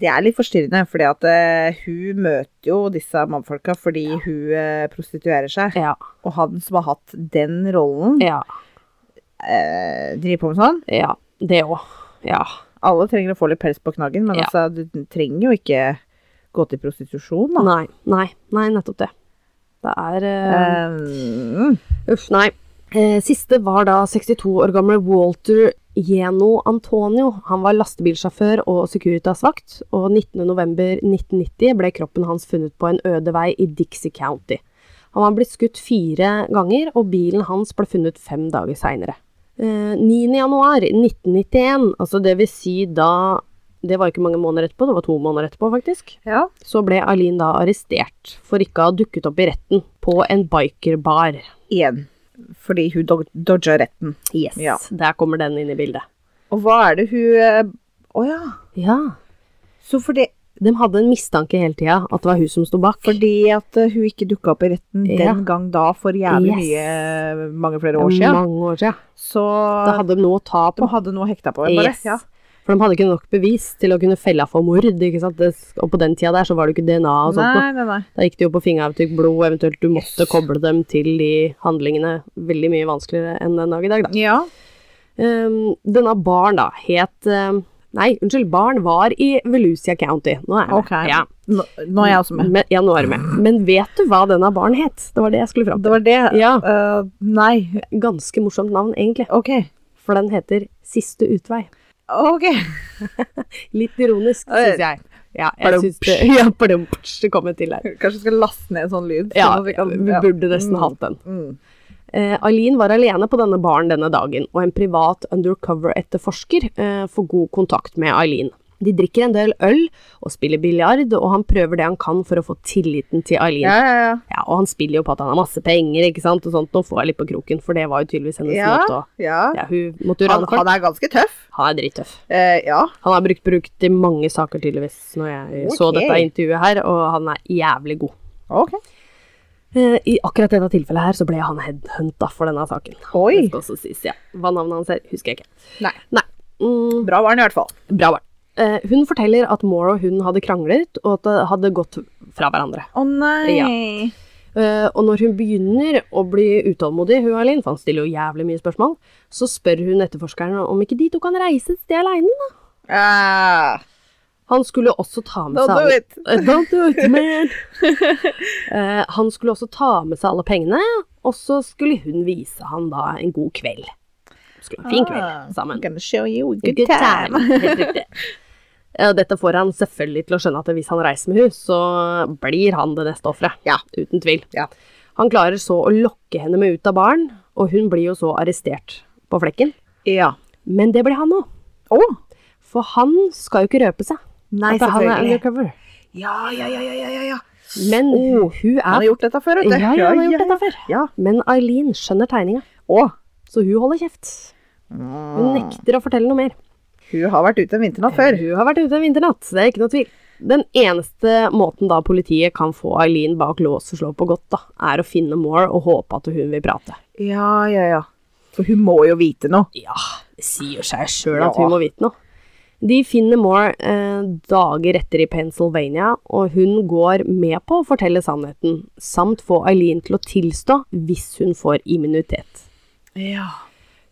Speaker 2: Det er litt forstyrrende, fordi at eh, hun møter jo disse mannfolka fordi hun eh, prostituerer seg.
Speaker 1: Ja,
Speaker 2: Og han som har hatt den rollen,
Speaker 1: ja,
Speaker 2: eh, driver på med sånn.
Speaker 1: ja. Det òg. Ja.
Speaker 2: Alle trenger å få litt pels på knaggen, men
Speaker 1: Ja.
Speaker 2: altså, du trenger jo ikke gå til prostitusjon, da.
Speaker 1: Nei, nei, nei, nettopp det. Det er eh,
Speaker 2: Eh, mm.
Speaker 1: Uff, nei. Eh, siste var da 62 år gamle Walter Geno Antonio. Han var lastebilsjåfør og Securitas-vakt, og 19.11.1990 ble kroppen hans funnet på en øde vei i Dixie County. Han var blitt skutt fire ganger, og bilen hans ble funnet fem dager seinere. Eh, 9.1.1991, altså det vil si da Det var ikke mange måneder etterpå, det var to måneder etterpå, faktisk
Speaker 2: ja.
Speaker 1: så ble Eileen da arrestert for ikke å ha dukket opp i retten på en bikerbar.
Speaker 2: Igjen. Fordi hun dog- dodga retten.
Speaker 1: Yes,
Speaker 2: Ja.
Speaker 1: der kommer den inn i bildet.
Speaker 2: Og hva er det hun eh, Å ja.
Speaker 1: Ja,
Speaker 2: Så fordi,
Speaker 1: de hadde en mistanke hele tida at det var hun som sto bak.
Speaker 2: fordi at eh, hun ikke dukka opp i retten
Speaker 1: Ja.
Speaker 2: den gang da for jævlig
Speaker 1: Yes.
Speaker 2: mye eh, mange flere år
Speaker 1: Det er
Speaker 2: siden,
Speaker 1: mange år siden.
Speaker 2: så
Speaker 1: Da hadde de noe å ta
Speaker 2: De
Speaker 1: på.
Speaker 2: hadde noe hekta på, bare.
Speaker 1: Yes.
Speaker 2: Ja.
Speaker 1: For de hadde ikke nok bevis til å kunne felle for mord. ikke sant? Det, og på den tida der så var det jo ikke DNA og sånt noe.
Speaker 2: Nei, nei, nei.
Speaker 1: Da gikk det jo på fingeravtrykk, blod, eventuelt du måtte
Speaker 2: Yes.
Speaker 1: koble dem til de handlingene. Veldig mye vanskeligere enn den dag i dag, da.
Speaker 2: Ja.
Speaker 1: Um, denne baren da het um, Nei, unnskyld, baren var i Volusia County. Nå er jeg med.
Speaker 2: Ok.
Speaker 1: Ja.
Speaker 2: Nå, nå er jeg også med.
Speaker 1: Men, ja, nå er du med. Men vet du hva denne baren het? Det var det jeg skulle fram til.
Speaker 2: Det var det.
Speaker 1: Ja,
Speaker 2: Eh, nei.
Speaker 1: ganske morsomt navn egentlig,
Speaker 2: Ok.
Speaker 1: for den heter Siste utvei.
Speaker 2: Ok.
Speaker 1: Litt ironisk,
Speaker 2: Oi.
Speaker 1: syns jeg. Ja, jeg synes det, ja, pardumps, det kom en til der.
Speaker 2: Kanskje vi skal laste ned en sånn lyd?
Speaker 1: Ja,
Speaker 2: sånn at vi kan-
Speaker 1: vi burde nesten
Speaker 2: Mm.
Speaker 1: hatt den.
Speaker 2: Mm.
Speaker 1: Eh, Eileen var alene på denne baren denne dagen, og en privat undercover-etterforsker eh, får god kontakt med Eileen. De drikker en del øl og spiller biljard, og han prøver det han kan for å få tilliten til Eileen.
Speaker 2: Ja, ja, ja.
Speaker 1: Ja, og han spiller jo på at han har masse penger, ikke sant, og sånt. Nå får jeg litt på kroken, for det var jo tydeligvis hennes
Speaker 2: Ja.
Speaker 1: måte å
Speaker 2: ja.
Speaker 1: Ja, hun måtte jo
Speaker 2: Han,
Speaker 1: rane folk.
Speaker 2: han er ganske tøff.
Speaker 1: Han er drittøff.
Speaker 2: Eh, ja.
Speaker 1: Han har brukt brukt i mange saker, tydeligvis, når jeg eh, så
Speaker 2: Ok.
Speaker 1: dette intervjuet her, og han er jævlig god.
Speaker 2: Ok.
Speaker 1: Eh, I akkurat dette tilfellet her så ble han headhunta for denne saken. Det
Speaker 2: Oi.
Speaker 1: skal også sies, ja. Hva navnet hans er, husker jeg ikke.
Speaker 2: Nei.
Speaker 1: Nei. Mm,
Speaker 2: Bra var han i hvert fall.
Speaker 1: bra barn. Eh, hun forteller at Moore og hun hadde kranglet, og at det hadde gått fra hverandre.
Speaker 2: Å nei.
Speaker 1: Eh, og når hun begynner å bli utålmodig, hun Eileen, for han stiller jo jævlig mye spørsmål, så spør hun etterforskeren om ikke de to kan reise et sted aleine. da.
Speaker 2: Ah,
Speaker 1: Han skulle også ta med
Speaker 2: don't
Speaker 1: seg
Speaker 2: do
Speaker 1: alle-
Speaker 2: it.
Speaker 1: Eh, Don't do it, man! Eh, han skulle også ta med seg alle pengene, og så skulle hun vise han da en god kveld. Skulle ha en fin
Speaker 2: Ah,
Speaker 1: kveld sammen.
Speaker 2: Gonna show you a good,
Speaker 1: Good
Speaker 2: time.
Speaker 1: time. Helt riktig. Ja, Dette får han selvfølgelig til å skjønne at hvis han reiser med henne, så blir han det neste offeret.
Speaker 2: Ja.
Speaker 1: Uten tvil.
Speaker 2: Ja.
Speaker 1: Han klarer så å lokke henne med ut av baren, og hun blir jo så arrestert på flekken.
Speaker 2: Ja.
Speaker 1: Men det blir han òg,
Speaker 2: Å.
Speaker 1: for han skal jo ikke røpe seg.
Speaker 2: Nei,
Speaker 1: For han er
Speaker 2: selvfølgelig.
Speaker 1: undercover.
Speaker 2: Ja, ja, ja, ja, ja, ja, ja.
Speaker 1: Men
Speaker 2: Oh,
Speaker 1: hun
Speaker 2: Han har
Speaker 1: er
Speaker 2: gjort dette før, vet du.
Speaker 1: Ja, ja, han har gjort dette før.
Speaker 2: Ja.
Speaker 1: Men Eileen skjønner tegninga,
Speaker 2: Å. Mm.
Speaker 1: så hun holder kjeft. Hun
Speaker 2: Ah.
Speaker 1: nekter å fortelle noe mer.
Speaker 2: Hun har vært ute en vinternatt før.
Speaker 1: Hun har vært ute en vinternatt, det er ikke noe tvil. Den eneste måten da politiet kan få Eileen bak lås og slå på godt, da, er å finne Moore og håpe at hun vil prate.
Speaker 2: Ja, ja, ja. For hun må jo vite noe.
Speaker 1: Ja, det sier seg sjøl at
Speaker 2: Ja.
Speaker 1: hun må vite noe. De finner Moore eh, dager etter i Pennsylvania, og hun går med på å fortelle sannheten, samt få Eileen til å tilstå hvis hun får immunitet.
Speaker 2: Ja.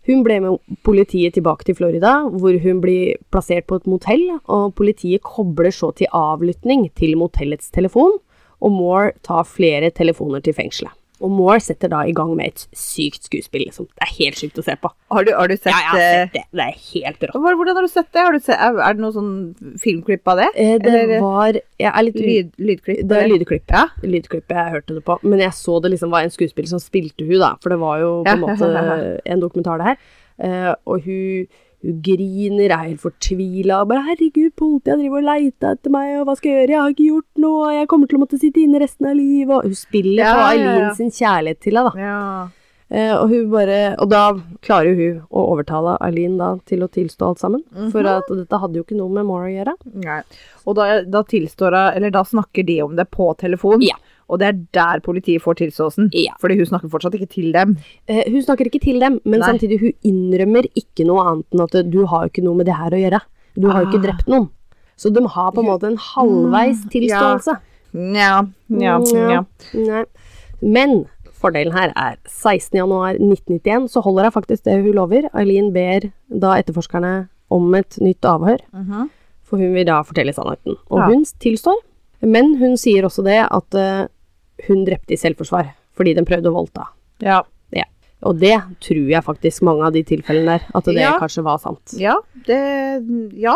Speaker 1: Hun ble med politiet tilbake til Florida, hvor hun blir plassert på et motell, og politiet kobler så til avlytting til motellets telefon, og Moore tar flere telefoner til fengselet. Og Moore setter da i gang med et sykt skuespill, liksom. Det er helt sykt å se på.
Speaker 2: Har du, har du sett
Speaker 1: Ja, jeg har
Speaker 2: eh,
Speaker 1: sett det. Det er helt rått.
Speaker 2: hva- Hvordan har du sett det? Har du sett, er, er det noe sånn filmklipp av det?
Speaker 1: Eh, Det
Speaker 2: Eller- eh,
Speaker 1: var Jeg er litt u...
Speaker 2: Lyd, lydklipp?
Speaker 1: Det er
Speaker 2: eller?
Speaker 1: lydklipp.
Speaker 2: Ja.
Speaker 1: Lydklippet jeg hørte det på. Men jeg så det liksom var en skuespiller som spilte hun, da. For det var jo på en
Speaker 2: Ja.
Speaker 1: måte en dokumentar, det her. Eh, og hun, hun griner, er helt fortvila. og Bare 'herregud, politiet driver og leita etter meg, og hva skal jeg gjøre? Jeg har ikke gjort noe, og jeg kommer til å måtte sitte inne resten av livet', og hun spiller
Speaker 2: Ja,
Speaker 1: på
Speaker 2: ja, ja.
Speaker 1: Eileen sin kjærlighet til henne, da.
Speaker 2: ja.
Speaker 1: Eh, og hun bare Og da klarer jo hun å overtale Eileen da til å tilstå alt sammen.
Speaker 2: Mhm.
Speaker 1: For at dette hadde jo ikke noe med Mora å gjøre.
Speaker 2: Nei. Og da, da tilstår hun Eller da snakker de om det på telefon.
Speaker 1: Ja.
Speaker 2: Og det er der politiet får tilståelsen.
Speaker 1: Ja.
Speaker 2: Fordi hun snakker fortsatt ikke til dem.
Speaker 1: Eh, hun snakker ikke til dem, men
Speaker 2: Nei.
Speaker 1: samtidig hun innrømmer ikke noe annet enn at eh, du har jo ikke noe med det her å gjøre. Du har jo ikke
Speaker 2: Ah. Mm,
Speaker 1: drept noen. Så de har på en måte en halvveis tilståelse.
Speaker 2: Nja, nja, nja.
Speaker 1: Nja. Nei. Men fordelen her er 16.1.1991 så holder hun faktisk det hun lover. Eileen ber da etterforskerne om et nytt avhør,
Speaker 2: Mhm.
Speaker 1: for hun vil da fortelle sannheten. Og
Speaker 2: Ja.
Speaker 1: hun tilstår, men hun sier også det at eh, hun drepte i selvforsvar fordi den prøvde å voldta.
Speaker 2: Ja.
Speaker 1: Ja. Og det tror jeg faktisk mange av de tilfellene der, at det
Speaker 2: Ja.
Speaker 1: kanskje var sant.
Speaker 2: Ja, det Ja.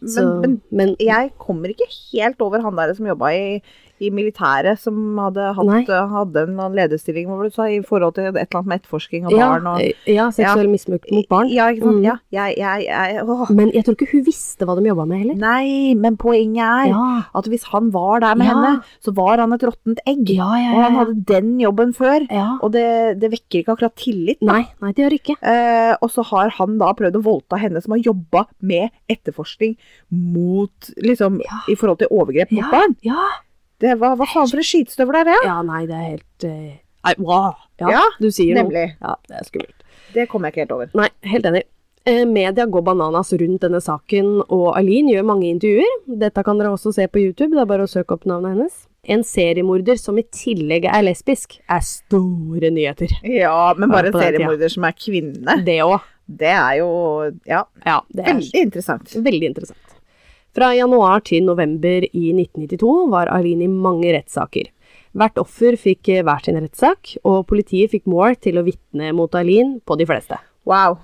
Speaker 2: Men,
Speaker 1: Så, men,
Speaker 2: men jeg kommer ikke helt over han der som jobba i, i militæret, som hadde,
Speaker 1: Nei.
Speaker 2: hatt, hadde en eller annen lederstilling hva var det du sa, i forhold til et eller annet med etterforskning av
Speaker 1: ja,
Speaker 2: barn og
Speaker 1: ja, seksuell misbruk mot barn.
Speaker 2: Ja, ikke
Speaker 1: Mm.
Speaker 2: sant. Ja, jeg, jeg, jeg åh.
Speaker 1: Men jeg tror ikke hun visste hva de jobba med heller.
Speaker 2: Nei, men poenget er
Speaker 1: Ja,
Speaker 2: at hvis han var der med
Speaker 1: Ja.
Speaker 2: henne, så var han et råttent egg.
Speaker 1: ja, ja.
Speaker 2: Og
Speaker 1: ja,
Speaker 2: han
Speaker 1: ja.
Speaker 2: hadde den jobben før,
Speaker 1: ja.
Speaker 2: og det, det vekker ikke akkurat tillit. da.
Speaker 1: Nei, nei, det gjør ikke.
Speaker 2: Eh, og så har han da prøvd å voldta henne som har jobba med etterforskning mot, liksom,
Speaker 1: Ja.
Speaker 2: i forhold til overgrep mot
Speaker 1: Ja.
Speaker 2: barn.
Speaker 1: Ja,
Speaker 2: Det var, hva faen for en skitstøvel er det?
Speaker 1: ja nei, det er helt eh, Nei, wow. Ja,
Speaker 2: Ja,
Speaker 1: du sier noe.
Speaker 2: Nemlig.
Speaker 1: Ja, det er skummelt.
Speaker 2: Det kom jeg ikke helt over.
Speaker 1: Nei, helt enig. Eh, Media går bananas rundt denne saken, og Aline gjør mange intervjuer. Dette kan dere også se på YouTube, det er bare å søke opp navnet hennes. En seriemorder som i tillegg er lesbisk, er store nyheter.
Speaker 2: Ja, men bare
Speaker 1: Ja, på den
Speaker 2: en
Speaker 1: tida.
Speaker 2: seriemorder som er kvinne,
Speaker 1: Det òg.
Speaker 2: det er jo ja,
Speaker 1: Ja, det er
Speaker 2: Eh, veldig interessant.
Speaker 1: veldig interessant. Fra januar til november i 1992 var Aline i mange rettssaker. Hvert offer fikk eh, hver sin rettssak, og politiet fikk Moore til å vitne mot Aline på de fleste.
Speaker 2: Wow.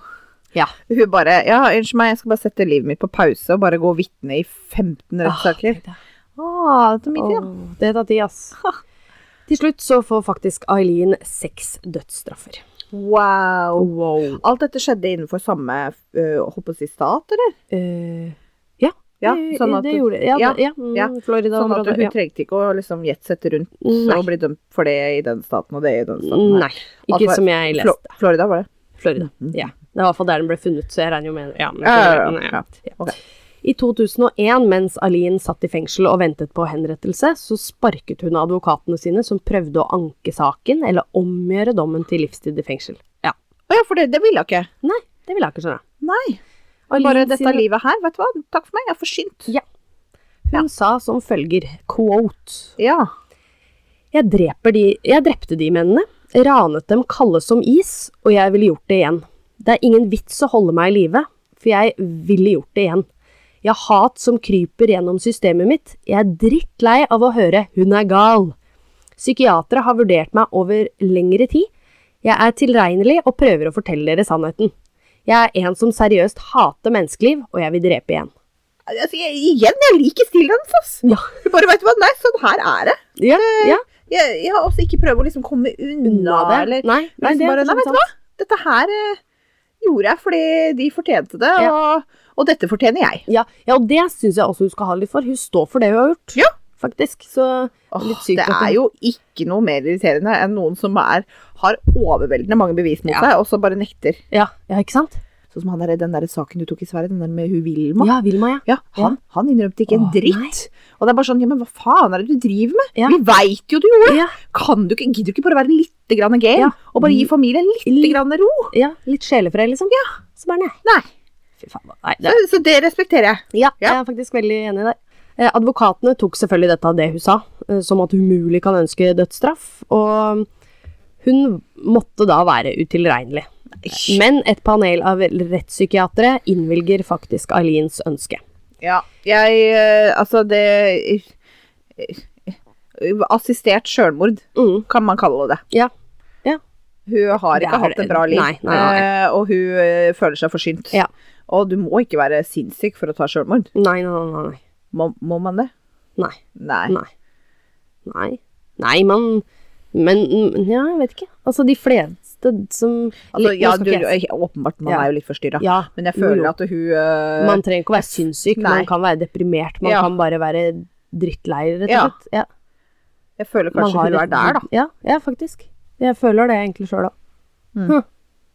Speaker 1: Ja.
Speaker 2: Hun bare Ja, unnskyld meg, jeg skal bare sette livet mitt på pause og bare gå og vitne i 15 rettssaker.
Speaker 1: Ah,
Speaker 2: Ah, det er mye tid, ja.
Speaker 1: Åh, det tar tid, ass. Til slutt så får faktisk Eileen seks dødsstraffer.
Speaker 2: Wow.
Speaker 1: Wow.
Speaker 2: Alt dette skjedde innenfor samme øh, holdt på å si stat, eller?
Speaker 1: eh, ja,
Speaker 2: Ja, sånn at,
Speaker 1: det gjorde det. Ja,
Speaker 2: ja,
Speaker 1: det- ja, mm,
Speaker 2: ja. sånn at
Speaker 1: Florida-området.
Speaker 2: du, du trengte ikke å liksom jetsette rundt
Speaker 1: Nei.
Speaker 2: og bli dømt for det i den staten og det i den
Speaker 1: ja.
Speaker 2: staten. her.
Speaker 1: Nei, ikke
Speaker 2: Altså,
Speaker 1: som jeg
Speaker 2: Flo
Speaker 1: leste.
Speaker 2: Florida var det.
Speaker 1: Florida.
Speaker 2: Mhm.
Speaker 1: Ja. Det var i hvert fall der den ble funnet, så jeg regner jo med ja, men,
Speaker 2: Ja, ja, ja.
Speaker 1: Ja. Ja.
Speaker 2: Ok.
Speaker 1: I 2001, mens Aline satt i fengsel og ventet på henrettelse, så sparket hun advokatene sine som prøvde å anke saken eller omgjøre dommen til livstid i fengsel. Ja,
Speaker 2: Å ja, for det, det ville jeg ikke.
Speaker 1: Nei, det ville jeg ikke skjønne.
Speaker 2: Nei.
Speaker 1: Aline
Speaker 2: Bare dette
Speaker 1: sine-
Speaker 2: livet her, vet du hva. Takk for meg, jeg er forsynt.
Speaker 1: Ja. Hun sa som følger, quote
Speaker 2: Ja.
Speaker 1: Jeg, dreper de, jeg drepte de mennene, ranet dem kalde som is, og jeg ville gjort det igjen. Det er ingen vits å holde meg i live, for jeg ville gjort det igjen. Jeg har hat som kryper gjennom systemet mitt. Jeg er drittlei av å høre 'hun er gal'. Psykiatere har vurdert meg over lengre tid. Jeg er tilregnelig og prøver å fortelle dere sannheten. Jeg er en som seriøst hater menneskeliv, og jeg vil drepe igjen.
Speaker 2: Altså, jeg, igjen, jeg liker stilen hennes, ass.
Speaker 1: Ja.
Speaker 2: Du bare vet du hva, nei, sånn her er det.
Speaker 1: Ja, ja
Speaker 2: Jeg, jeg har også ikke prøvd å liksom komme unna,
Speaker 1: unna
Speaker 2: eller
Speaker 1: det. Nei, nei,
Speaker 2: liksom
Speaker 1: det er sånn-
Speaker 2: bare,
Speaker 1: for så
Speaker 2: nei,
Speaker 1: vidt
Speaker 2: vet du hva, dette her eh, gjorde jeg fordi de fortjente det, og, og dette fortjener jeg.
Speaker 1: Ja, ja og det syns jeg også hun skal ha litt for. Hun står for det hun har gjort,
Speaker 2: Ja.
Speaker 1: faktisk. Så
Speaker 2: Åh,
Speaker 1: Litt sykt
Speaker 2: det
Speaker 1: at
Speaker 2: er
Speaker 1: hun-
Speaker 2: jo ikke noe mer irriterende enn noen som er, har overveldende mange bevis mot
Speaker 1: Ja.
Speaker 2: seg, og så bare nekter.
Speaker 1: ja, ja ikke sant?
Speaker 2: Sånn som han der, den der saken du tok i Sverige, den der med hun Vilma.
Speaker 1: Ja, Vilma, ja.
Speaker 2: Ja, han, han innrømte ikke en
Speaker 1: Åh,
Speaker 2: dritt. Og det er bare sånn, ja, men hva faen er det du driver med?
Speaker 1: Ja.
Speaker 2: Vi veit jo du gjorde!
Speaker 1: Ja.
Speaker 2: Kan du ikke, gidder du ikke bare være litt grann game,
Speaker 1: Ja.
Speaker 2: og bare gi familien litt
Speaker 1: Litt-
Speaker 2: grann ro?
Speaker 1: ja litt sjelefred, liksom. Ja. Så bare nei.
Speaker 2: Nei.
Speaker 1: Fy faen. da. Nei,
Speaker 2: Så,
Speaker 1: det,
Speaker 2: så det respekterer jeg.
Speaker 1: ja,
Speaker 2: Ja.
Speaker 1: jeg er faktisk veldig enig i det. Eh, advokatene tok selvfølgelig dette av det hun sa, eh, som at hun umulig kan ønske dødsstraff. Og hun måtte da være utilregnelig. Men et panel av rettspsykiatere innvilger faktisk Alins ønske.
Speaker 2: Ja, jeg eh, Altså, det eh, Assistert sjølmord,
Speaker 1: Mm.
Speaker 2: kan man kalle det.
Speaker 1: Ja. Ja.
Speaker 2: Hun har
Speaker 1: Det
Speaker 2: ikke
Speaker 1: er-
Speaker 2: hatt et bra liv,
Speaker 1: nei, nei, nei.
Speaker 2: eh, og hun eh, føler seg forsynt.
Speaker 1: Ja.
Speaker 2: Og du må ikke være sinnssyk for å ta sjølmord.
Speaker 1: Nei, nei, nei. nei.
Speaker 2: Må, må man det?
Speaker 1: Nei.
Speaker 2: Nei.
Speaker 1: Nei. Nei, Nei man Men mm, ja, jeg vet ikke. Altså, de fleste som
Speaker 2: Altså,
Speaker 1: Nå
Speaker 2: ja,
Speaker 1: skal
Speaker 2: du,
Speaker 1: ikke jeg
Speaker 2: åpenbart, man
Speaker 1: Ja.
Speaker 2: er jo litt forstyrra.
Speaker 1: si- ja,
Speaker 2: Men jeg
Speaker 1: Jo,
Speaker 2: føler
Speaker 1: jo.
Speaker 2: at hun eh,
Speaker 1: Man trenger ikke å være sinnssyk.
Speaker 2: Nei.
Speaker 1: Man kan være deprimert. Man
Speaker 2: Ja.
Speaker 1: kan bare være drittlei, rett og
Speaker 2: Ja.
Speaker 1: slett. Ja.
Speaker 2: Jeg føler
Speaker 1: Man
Speaker 2: kanskje
Speaker 1: har
Speaker 2: hun er
Speaker 1: litt-
Speaker 2: der, da.
Speaker 1: Ja, ja, faktisk. Jeg føler det egentlig sjøl òg.
Speaker 2: Mm.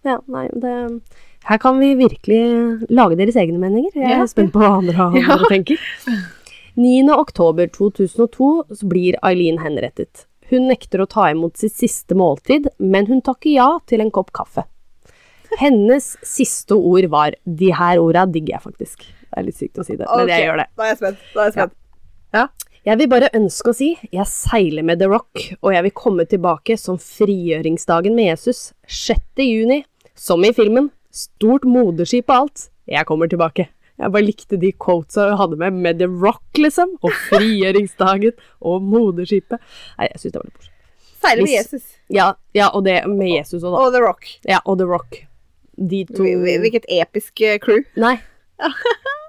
Speaker 1: Ja, nei, det Her kan vi virkelig lage deres egne meninger. Jeg er
Speaker 2: Ja.
Speaker 1: spent på hva andre, andre
Speaker 2: Ja.
Speaker 1: tenker. 9. oktober 2002 så blir Eileen henrettet. Hun nekter å ta imot sitt siste måltid, men hun takker ja til en kopp kaffe. Hennes siste ord var 'De her orda digger jeg faktisk'. Det er litt sykt å si det, men jeg
Speaker 2: Ok,
Speaker 1: gjør det.
Speaker 2: Da er jeg spent. Da er jeg spent.
Speaker 1: Jeg vil bare ønske å si jeg seiler med The Rock, og jeg vil komme tilbake som frigjøringsdagen med Jesus 6. juni, som i filmen. Stort moderskip og alt. Jeg kommer tilbake. Jeg bare likte de quotesa hun hadde med med The Rock, liksom. Og frigjøringsdagen og moderskipet. Nei, jeg syns det var litt morsomt.
Speaker 2: Seiler med
Speaker 1: Hvis-
Speaker 2: Jesus
Speaker 1: Ja, ja, og det med Jesus og da.
Speaker 2: og The Rock.
Speaker 1: Ja, og The Rock. De to
Speaker 2: Hvil- hvil- Hvilket episk eh, crew.
Speaker 1: Nei.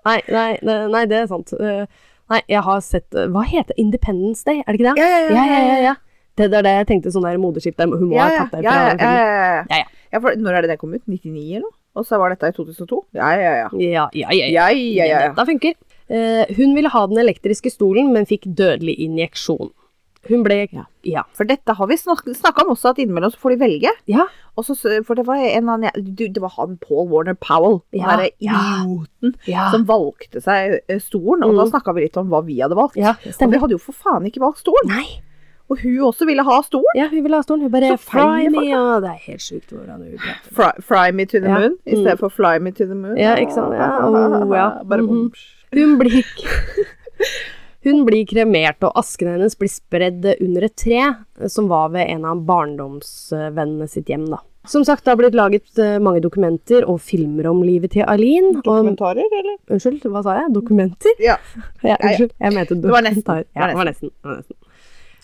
Speaker 1: Nei, nei, nei, nei, det er sant. Eh, Nei, jeg har sett eh, Hva heter det? Independence Day, er det ikke det?
Speaker 2: Ja, ja, ja,
Speaker 1: ja,
Speaker 2: ja, ja,
Speaker 1: ja, ja. Det det er det jeg tenkte, sånn der moderskip der hun må
Speaker 2: Ja,
Speaker 1: ha
Speaker 2: ja,
Speaker 1: tatt det
Speaker 2: ja,
Speaker 1: fra
Speaker 2: ja, ja,
Speaker 1: filmen.
Speaker 2: ja,
Speaker 1: Ja,
Speaker 2: ja.
Speaker 1: ja.
Speaker 2: ja for når er det den kom ut? 99 eller noe? Og så var dette i 2002? Ja, ja, ja.
Speaker 1: Ja, ja, ja. ja.
Speaker 2: Ja, ja, ja. ja.
Speaker 1: Dette funker. Eh, hun ville ha den elektriske stolen, men fikk dødelig injeksjon. Hun ble
Speaker 2: Ja.
Speaker 1: Ja.
Speaker 2: For dette har vi snakka om også, at innimellom så får de velge.
Speaker 1: Ja.
Speaker 2: Og så, for det var en annen jeg- du, Det var han Paul Warner Powell, den
Speaker 1: Ja,
Speaker 2: derre
Speaker 1: ja.
Speaker 2: idioten,
Speaker 1: ja.
Speaker 2: som valgte seg eh, stolen. Og
Speaker 1: Mm.
Speaker 2: da snakka vi litt om hva vi hadde valgt.
Speaker 1: ja
Speaker 2: Og vi
Speaker 1: stemmer.
Speaker 2: hadde jo for faen ikke valgt stolen.
Speaker 1: Nei.
Speaker 2: Og hun også ville ha stolen.
Speaker 1: Ja, hun ville ha stolen. Hun bare
Speaker 2: Så
Speaker 1: Fry
Speaker 2: feil
Speaker 1: me, og Det er helt sjukt hvordan hun prater.
Speaker 2: Fry, fry me to the
Speaker 1: Ja. Mm.
Speaker 2: moon i stedet for fly me to the moon.
Speaker 1: Ja, ikke sant? Ja, oh, ja.
Speaker 2: Bare
Speaker 1: Mhm. Hun blir Hun blir kremert, og asken hennes blir spredd under et tre, som var ved en av barndomsvennene sitt hjem, da. Som sagt, det har blitt laget eh, mange dokumenter og filmer om livet til Aline. Og,
Speaker 2: Kommentarer, eller?
Speaker 1: unnskyld, hva sa jeg? Dokumenter?
Speaker 2: Ja.
Speaker 1: Ja,
Speaker 2: Ja, ja.
Speaker 1: unnskyld, jeg mente
Speaker 2: var nesten.
Speaker 1: dokumentar. Ja, det var nesten. det var nesten.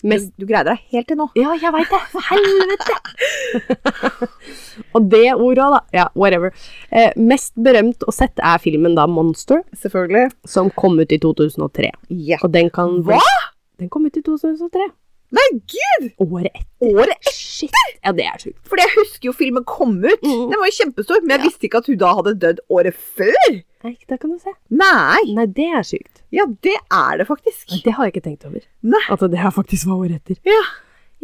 Speaker 1: Mest,
Speaker 2: Du, du greide deg helt til nå.
Speaker 1: ja, jeg veit det! Helvete! og det ordet, da. Ja, whatever. Eh, mest berømt og sett er filmen da Monster,
Speaker 2: Selvfølgelig.
Speaker 1: som kom ut i 2003.
Speaker 2: Ja.
Speaker 1: Og den kan
Speaker 2: Hva?
Speaker 1: Den kom ut i 2003.
Speaker 2: Nei, gud!
Speaker 1: Året etter.
Speaker 2: Året etter!
Speaker 1: Ja, det er sjukt.
Speaker 2: Fordi jeg husker jo filmen kom ut.
Speaker 1: Mm.
Speaker 2: Den var jo kjempestor, men jeg
Speaker 1: Ja.
Speaker 2: visste ikke at hun da hadde dødd året før.
Speaker 1: Nei, da kan du se.
Speaker 2: Nei!
Speaker 1: Nei, det er sjukt.
Speaker 2: Ja, det er det faktisk.
Speaker 1: Det har jeg ikke tenkt over.
Speaker 2: Nei.
Speaker 1: At det her faktisk var året etter.
Speaker 2: Ja.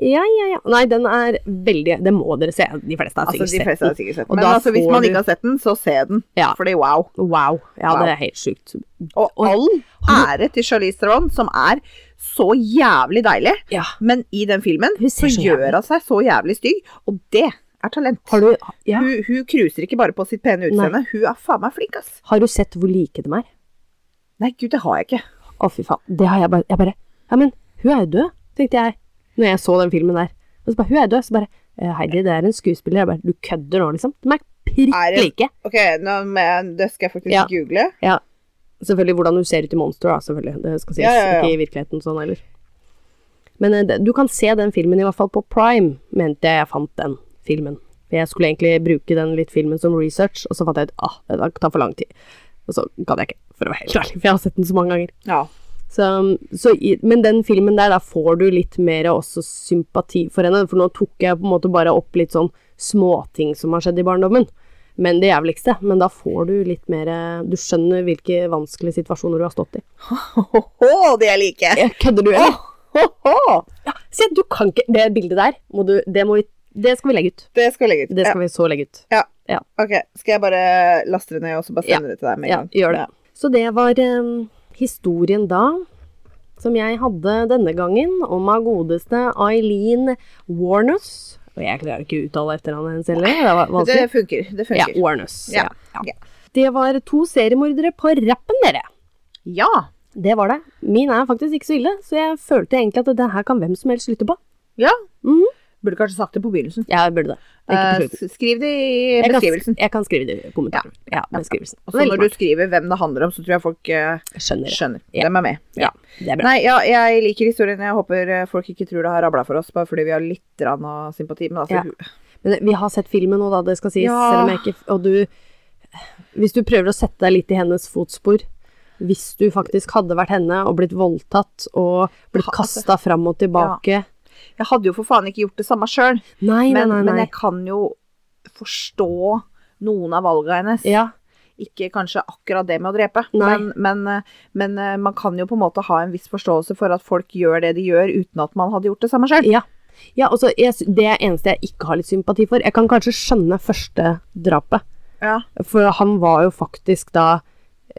Speaker 1: Ja, ja, ja. Nei, den er veldig Det må dere se. De fleste har
Speaker 2: Altså,
Speaker 1: sikkert
Speaker 2: de fleste har
Speaker 1: sett den.
Speaker 2: sikkert sett
Speaker 1: Og
Speaker 2: den. Men
Speaker 1: da
Speaker 2: altså, hvis
Speaker 1: får
Speaker 2: man
Speaker 1: du-
Speaker 2: ikke har sett den, så se den.
Speaker 1: Ja.
Speaker 2: Fordi wow.
Speaker 1: Wow. Ja,
Speaker 2: Wow.
Speaker 1: det er helt sjukt.
Speaker 2: Og
Speaker 1: Og-
Speaker 2: all ære til Charlize Theron, som er så jævlig deilig.
Speaker 1: Ja.
Speaker 2: Men i den filmen
Speaker 1: Hun
Speaker 2: så
Speaker 1: ser så jævlig
Speaker 2: gjør hun seg så jævlig stygg, og det er talent.
Speaker 1: Har du, ja.
Speaker 2: Hun, hun cruiser ikke bare på sitt pene utseende, hun er faen meg flink, ass.
Speaker 1: har du sett hvor like de er?
Speaker 2: Nei, gud, det har jeg ikke.
Speaker 1: Å, fy faen. Det har jeg bare Jeg bare Ja, men hun er jo død, tenkte jeg når jeg så den filmen der. Og så bare Hun er død. Så bare «Eh, Heidi, det er en skuespiller. Jeg bare Du kødder nå, liksom? De er
Speaker 2: Er
Speaker 1: prikk
Speaker 2: det-
Speaker 1: like.
Speaker 2: Ok, nå må jeg- det skal jeg faktisk
Speaker 1: Ja.
Speaker 2: google.
Speaker 1: Selvfølgelig hvordan hun ser ut i Monster, da, selvfølgelig. Det skal sies.
Speaker 2: Ja, ja, ja.
Speaker 1: Ikke i virkeligheten sånn heller. Men eh, det- du kan se den filmen i hvert fall på Prime, mente jeg jeg fant den filmen. For Jeg skulle egentlig bruke den litt filmen som research, og så fant jeg ut ah, det tar for lang tid. Og så gadd jeg ikke, for å være helt ærlig, for jeg har sett den så mange ganger.
Speaker 2: Ja.
Speaker 1: Så, så, i- men den filmen der, da får du litt mer også sympati for henne. For nå tok jeg på en måte bare opp litt sånn småting som har skjedd i barndommen. Men det jævligste. Men da får du litt mer eh, Du skjønner hvilke vanskelige situasjoner du har stått i.
Speaker 2: Ho-ho, de jeg liker!
Speaker 1: Eh, Kødder du, eller?
Speaker 2: Ho-ho!
Speaker 1: Ja, se, du kan ikke Det bildet der, må du, det, må vi, det skal vi legge ut.
Speaker 2: Det skal jeg legge ut.
Speaker 1: Det skal vi så legge ut.
Speaker 2: Ja, ok, skal jeg bare laste det ned og så bare sende det til deg med en
Speaker 1: Ja,
Speaker 2: gang?
Speaker 1: gjør det. Så det var eh, historien da, som jeg hadde denne gangen, om av godeste Eileen Warnus. Og jeg klarer ikke å uttale etternavnet hennes heller. Det var
Speaker 2: Ja. Det
Speaker 1: vanskelig.
Speaker 2: funker. Det
Speaker 1: Ja,
Speaker 2: funker. Ja.
Speaker 1: Warnus.
Speaker 2: Ja, ja.
Speaker 1: Det var to seriemordere på rappen, dere.
Speaker 2: ja.
Speaker 1: Det var det. Min er faktisk ikke så ille, så jeg følte egentlig at det her kan hvem som helst lytte på.
Speaker 2: Burde kanskje sagt det på begynnelsen.
Speaker 1: Jeg burde det. Ikke Mhm. på
Speaker 2: Eh,
Speaker 1: slutten.
Speaker 2: s- skriv det i
Speaker 1: Jeg kan,
Speaker 2: beskrivelsen.
Speaker 1: jeg kan skrive det i kommentaren. Ja, beskrivelsen.
Speaker 2: Og så når du skriver hvem det handler om, så tror jeg folk eh,
Speaker 1: skjønner det.
Speaker 2: skjønner.
Speaker 1: Ja.
Speaker 2: Dem er med.
Speaker 1: Ja, det er bra.
Speaker 2: Nei, ja, jeg liker historien. Jeg håper eh, folk ikke tror det har rabla for oss, bare fordi vi har litt grann av sympati. Men altså,
Speaker 1: Ja. Men vi har sett filmen nå, da, det skal sies.
Speaker 2: Ja.
Speaker 1: Selv om jeg ikke Og du Hvis du prøver å sette deg litt i hennes fotspor Hvis du faktisk hadde vært henne og blitt voldtatt og blitt
Speaker 2: Ha- altså-
Speaker 1: kasta fram og tilbake
Speaker 2: jeg hadde jo for faen ikke gjort det samme sjøl,
Speaker 1: Nei, nei,
Speaker 2: men,
Speaker 1: nei.
Speaker 2: men
Speaker 1: nei.
Speaker 2: jeg kan jo forstå noen av valga hennes.
Speaker 1: Ja.
Speaker 2: ikke kanskje akkurat det med å drepe,
Speaker 1: Nei.
Speaker 2: men, men, eh, men eh, man kan jo på en måte ha en viss forståelse for at folk gjør det de gjør uten at man hadde gjort det samme selv.
Speaker 1: ja. Ja, altså, jeg, sy- Det er eneste jeg ikke har litt sympati for. Jeg kan kanskje skjønne første drapet.
Speaker 2: Ja.
Speaker 1: For han var jo faktisk da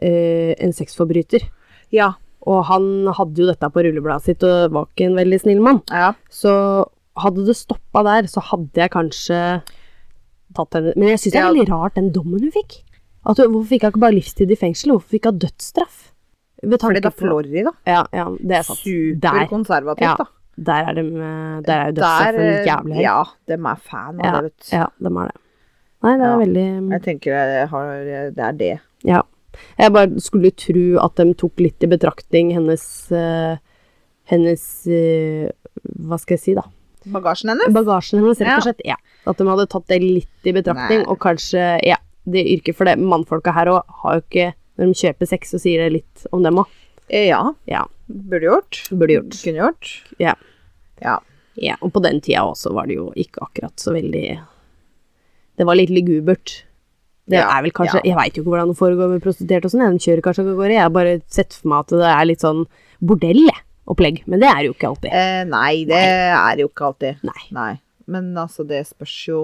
Speaker 1: eh, en sexforbryter.
Speaker 2: Ja,
Speaker 1: Og han hadde jo dette på rullebladet sitt og var ikke en veldig snill mann.
Speaker 2: ja.
Speaker 1: Så hadde det stoppa der, så hadde jeg kanskje tatt henne Men jeg syns det er
Speaker 2: Ja.
Speaker 1: veldig rart den dommen hun fikk. At hun, hvorfor fikk hun ikke bare livstid i fengsel? Hvorfor fikk hun dødsstraff? Ved
Speaker 2: Fordi
Speaker 1: tanke
Speaker 2: da
Speaker 1: på-
Speaker 2: Florida,
Speaker 1: Ja, ja, det er sant. Der,
Speaker 2: superkonservativt
Speaker 1: Ja,
Speaker 2: da.
Speaker 1: der er, de, der er jo dødsstraffen
Speaker 2: Der, eh,
Speaker 1: jævlig høy. Ja,
Speaker 2: Ja, dem er fan av det, vet du.
Speaker 1: ja, de er det. Nei, det er
Speaker 2: Ja.
Speaker 1: veldig
Speaker 2: Jeg tenker det, har, det er det.
Speaker 1: Ja. Jeg bare skulle tro at de tok litt i betraktning hennes eh, Hennes eh, Hva skal jeg si, da?
Speaker 2: Bagasjen hennes?
Speaker 1: bagasjen hennes, rett og
Speaker 2: Ja.
Speaker 1: slett. Ja. At de hadde tatt det litt i betraktning,
Speaker 2: Nei.
Speaker 1: og kanskje ja, det yrket for det. Mannfolka her òg har jo ikke Når de kjøper sex, så sier det litt om dem òg.
Speaker 2: Eh, Ja.
Speaker 1: Ja.
Speaker 2: Burde gjort.
Speaker 1: Burde gjort.
Speaker 2: Kunne gjort.
Speaker 1: Ja.
Speaker 2: Ja.
Speaker 1: Ja, og på den tida også var det jo ikke akkurat så veldig Det var litt lugubert. Det
Speaker 2: Ja,
Speaker 1: er vel kanskje
Speaker 2: ja.
Speaker 1: Jeg veit jo ikke hvordan det foregår med prostituerte og sånn, jeg. de kjører kanskje ikke av gårde. Jeg har bare sett for meg at det er litt sånn bordell, jeg, opplegg. Men det er det jo ikke alltid.
Speaker 2: Eh, nei, det er jo ikke alltid.
Speaker 1: Nei.
Speaker 2: Nei. Men altså, det spørs jo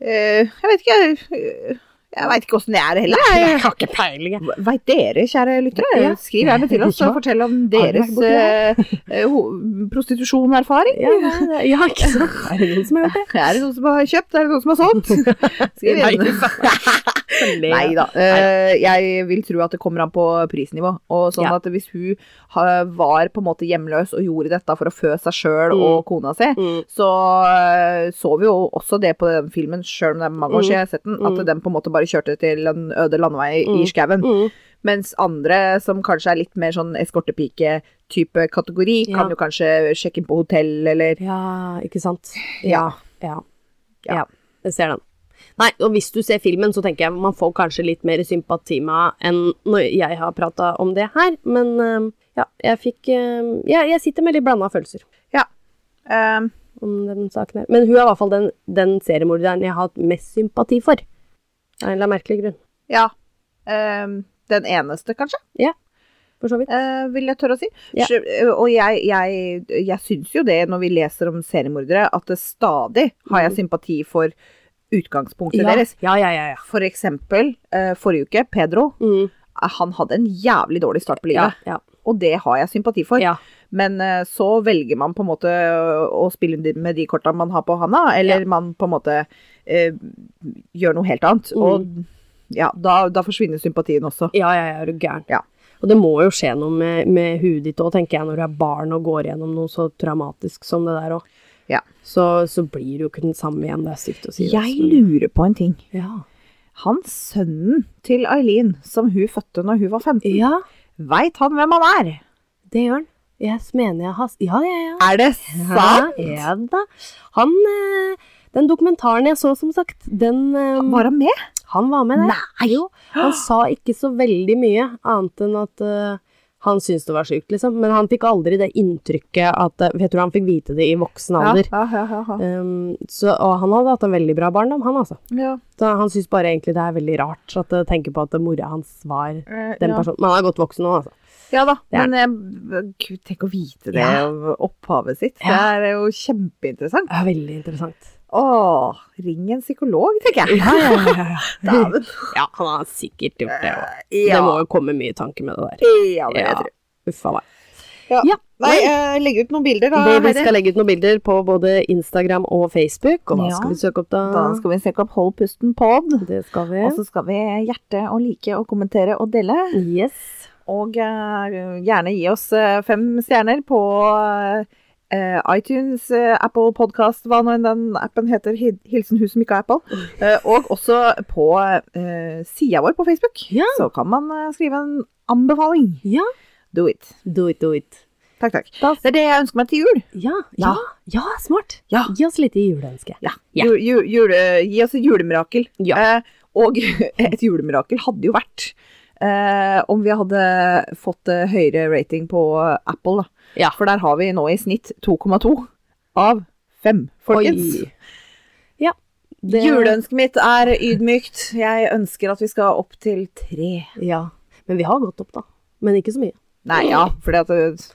Speaker 2: eh, Jeg vet ikke eh, Jeg veit ikke åssen det er heller.
Speaker 1: Jeg har ikke peiling, jeg.
Speaker 2: Veit dere, kjære lyttere?
Speaker 1: Ja.
Speaker 2: Skriv gjerne til oss
Speaker 1: Ja.
Speaker 2: og fortell om
Speaker 1: Har dere
Speaker 2: deres
Speaker 1: vært borti
Speaker 2: eh, ho- prostitusjonerfaring.
Speaker 1: Ja, nei, det- ja, ikke sant. Er det noen som har gjort det?
Speaker 2: Er det noen som har kjøpt? Er det noen som har solgt? Skriv
Speaker 1: Nei,
Speaker 2: gjerne. Nei da. Eh, jeg vil tro at det kommer an på prisnivå. Og sånn
Speaker 1: Ja.
Speaker 2: at hvis hun ha- var på en måte hjemløs og gjorde dette for å fø seg sjøl
Speaker 1: Mm.
Speaker 2: og kona si,
Speaker 1: Mm.
Speaker 2: så eh, så vi jo også det på den filmen, sjøl om det er mange år siden jeg har sett den, at
Speaker 1: Mm.
Speaker 2: den på en måte bare kjørte til en øde landevei
Speaker 1: Mm.
Speaker 2: i skauen.
Speaker 1: Mm.
Speaker 2: Mens andre, som kanskje er litt mer sånn eskortepike-type kategori,
Speaker 1: Ja.
Speaker 2: kan jo kanskje sjekke inn på hotell eller
Speaker 1: Ja, ikke sant?
Speaker 2: Ja.
Speaker 1: Ja.
Speaker 2: Ja.
Speaker 1: ja. Jeg ser den. Nei, og hvis du ser filmen, så tenker jeg man får kanskje litt mer sympati med henne enn når jeg har prata ehm, om det her, men øhm, ja, jeg fikk øhm, ja, Jeg sitter med litt blanda følelser.
Speaker 2: Ehm,
Speaker 1: om den saken her. Men hun er i hvert fall den, den seriemorderen jeg har hatt mest sympati for. Av en eller annen merkelig grunn,
Speaker 2: ja. Ehm, den eneste, kanskje,
Speaker 1: for så vidt.
Speaker 2: eh, vil jeg tørre å si.
Speaker 1: Ja.
Speaker 2: Så, eh, og jeg, jeg, jeg syns jo det, når vi leser om seriemordere, at det stadig har jeg sympati for utgangspunktet
Speaker 1: Mm. Ja,
Speaker 2: deres.
Speaker 1: ja, ja. ja, ja.
Speaker 2: For eksempel eh, forrige uke, Pedro. eh,
Speaker 1: Mm.
Speaker 2: Han hadde en jævlig dårlig start på
Speaker 1: ja,
Speaker 2: livet,
Speaker 1: ja,
Speaker 2: og det har jeg sympati for.
Speaker 1: ja.
Speaker 2: Men eh, så velger man på en måte å spille med de korta man har på handa, eller man på en måte eh, gjør noe helt annet.
Speaker 1: Mm.
Speaker 2: Og ja, da, da forsvinner sympatien også.
Speaker 1: Ja, ja, ja, er du gæren.
Speaker 2: Ja.
Speaker 1: Og det må jo skje noe med, med huet ditt òg, tenker jeg, når du er barn og går gjennom noe så traumatisk som det der òg.
Speaker 2: Ja.
Speaker 1: Så, så blir du jo ikke den samme igjen, det er stygt å si. det,
Speaker 2: Jeg
Speaker 1: men-
Speaker 2: lurer på en ting.
Speaker 1: Ja.
Speaker 2: Han sønnen til Eileen, som hun fødte når hun var 15,
Speaker 1: ja,
Speaker 2: veit han hvem han er?
Speaker 1: det gjør han. Jeg mener jeg har s- Ja, ja, ja.
Speaker 2: Er det sant?
Speaker 1: Ja, ja da. Han eh, Den dokumentaren jeg så, som sagt, den eh,
Speaker 2: Var han med?
Speaker 1: Han var med der.
Speaker 2: Nei!
Speaker 1: Jo, han sa ikke så veldig mye, annet enn at eh, han syntes det var sjukt, liksom. Men han fikk aldri det inntrykket at eh, Jeg tror han fikk vite det i voksen
Speaker 2: Ja,
Speaker 1: alder.
Speaker 2: ja, ja, ja, ja.
Speaker 1: Um, så, og han hadde hatt en veldig bra barndom, han altså.
Speaker 2: ja.
Speaker 1: Så han syns bare egentlig det er veldig rart at jeg tenker på at mora hans var
Speaker 2: eh,
Speaker 1: den
Speaker 2: ja.
Speaker 1: personen. Men han er godt voksen nå, altså.
Speaker 2: Ja da,
Speaker 1: Det er
Speaker 2: men eh, gud, tenk å vite det
Speaker 1: Ja.
Speaker 2: av opphavet sitt.
Speaker 1: Ja.
Speaker 2: Det er jo kjempeinteressant.
Speaker 1: Ja, veldig interessant.
Speaker 2: Åh, ring en psykolog, tenker jeg.
Speaker 1: Ja, ja, ja, ja.
Speaker 2: Damen.
Speaker 1: ja han har sikkert gjort det òg. Det
Speaker 2: Ja,
Speaker 1: må jo komme mye tanker med det der.
Speaker 2: ja, det vil jeg
Speaker 1: Ja.
Speaker 2: tro.
Speaker 1: Uff a meg.
Speaker 2: Nei, eh, legg ut noen bilder da,
Speaker 1: Det- Vi
Speaker 2: Heidi.
Speaker 1: skal legge ut noen bilder på både Instagram og Facebook, og hva
Speaker 2: Ja.
Speaker 1: skal vi søke opp da?
Speaker 2: Da skal vi søke opp Hold pusten pod.
Speaker 1: Det skal vi.
Speaker 2: Og så skal vi hjerte og like og kommentere og dele.
Speaker 1: Yes.
Speaker 2: Og eh, gjerne gi oss eh, fem stjerner på eh, iTunes, eh, Apple Podcast, hva nå enn den appen heter. Hil- Hilsen hun som ikke har Apple. Eh, og også på uh, sida vår på Facebook.
Speaker 1: Ja.
Speaker 2: Så kan man eh, skrive en anbefaling.
Speaker 1: Ja.
Speaker 2: Do it.
Speaker 1: Do it, do it.
Speaker 2: Takk, takk.
Speaker 1: Da-
Speaker 2: Det er det jeg ønsker meg til jul.
Speaker 1: Ja, ja,
Speaker 2: Ja.
Speaker 1: ja, smart.
Speaker 2: Ja.
Speaker 1: Gi oss litt i juleønske.
Speaker 2: Ja.
Speaker 1: Ja.
Speaker 2: Ju- ju- jule, gi oss et julemirakel.
Speaker 1: Ja.
Speaker 2: Eh, og et julemirakel hadde jo vært eh, om vi hadde fått eh, høyere rating på eh, Apple. Da.
Speaker 1: Ja.
Speaker 2: For der har vi nå i snitt 2,2 av 5, folkens.
Speaker 1: Oi. Ja. det-
Speaker 2: Juleønsket mitt er ydmykt. Jeg ønsker at vi skal opp til 3.
Speaker 1: Ja. Men vi har gått opp, da. Men ikke så mye.
Speaker 2: Nei, ja, fordi at uh,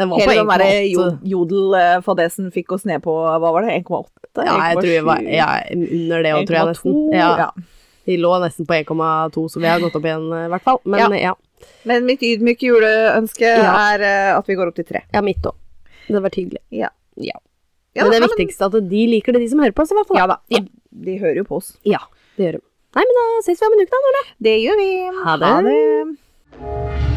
Speaker 1: Den
Speaker 2: hele den derre
Speaker 1: 1,8.
Speaker 2: jodel-fadesen fikk oss ned på, hva var det, 1,8?
Speaker 1: Ja, jeg tror vi var ja, under det òg, tror jeg
Speaker 2: 1,2.
Speaker 1: nesten. Ja,
Speaker 2: ja.
Speaker 1: vi lå nesten på 1,2, så vi har gått opp igjen, eh, i hvert fall. Men
Speaker 2: Ja.
Speaker 1: ja. ja.
Speaker 2: Men mitt ydmyke juleønske
Speaker 1: Ja.
Speaker 2: er eh, at vi går opp til tre.
Speaker 1: mitt òg. Det hadde vært hyggelig.
Speaker 2: Ja.
Speaker 1: Ja.
Speaker 2: Ja,
Speaker 1: men det
Speaker 2: da,
Speaker 1: er viktigste at de liker det, de som hører på oss, i hvert fall.
Speaker 2: Ja da.
Speaker 1: Ja.
Speaker 2: De hører jo på oss.
Speaker 1: Ja, det gjør de. Nei, men da ses vi om en uke, da, Nora.
Speaker 2: Det gjør vi.
Speaker 1: Ha det.
Speaker 2: det.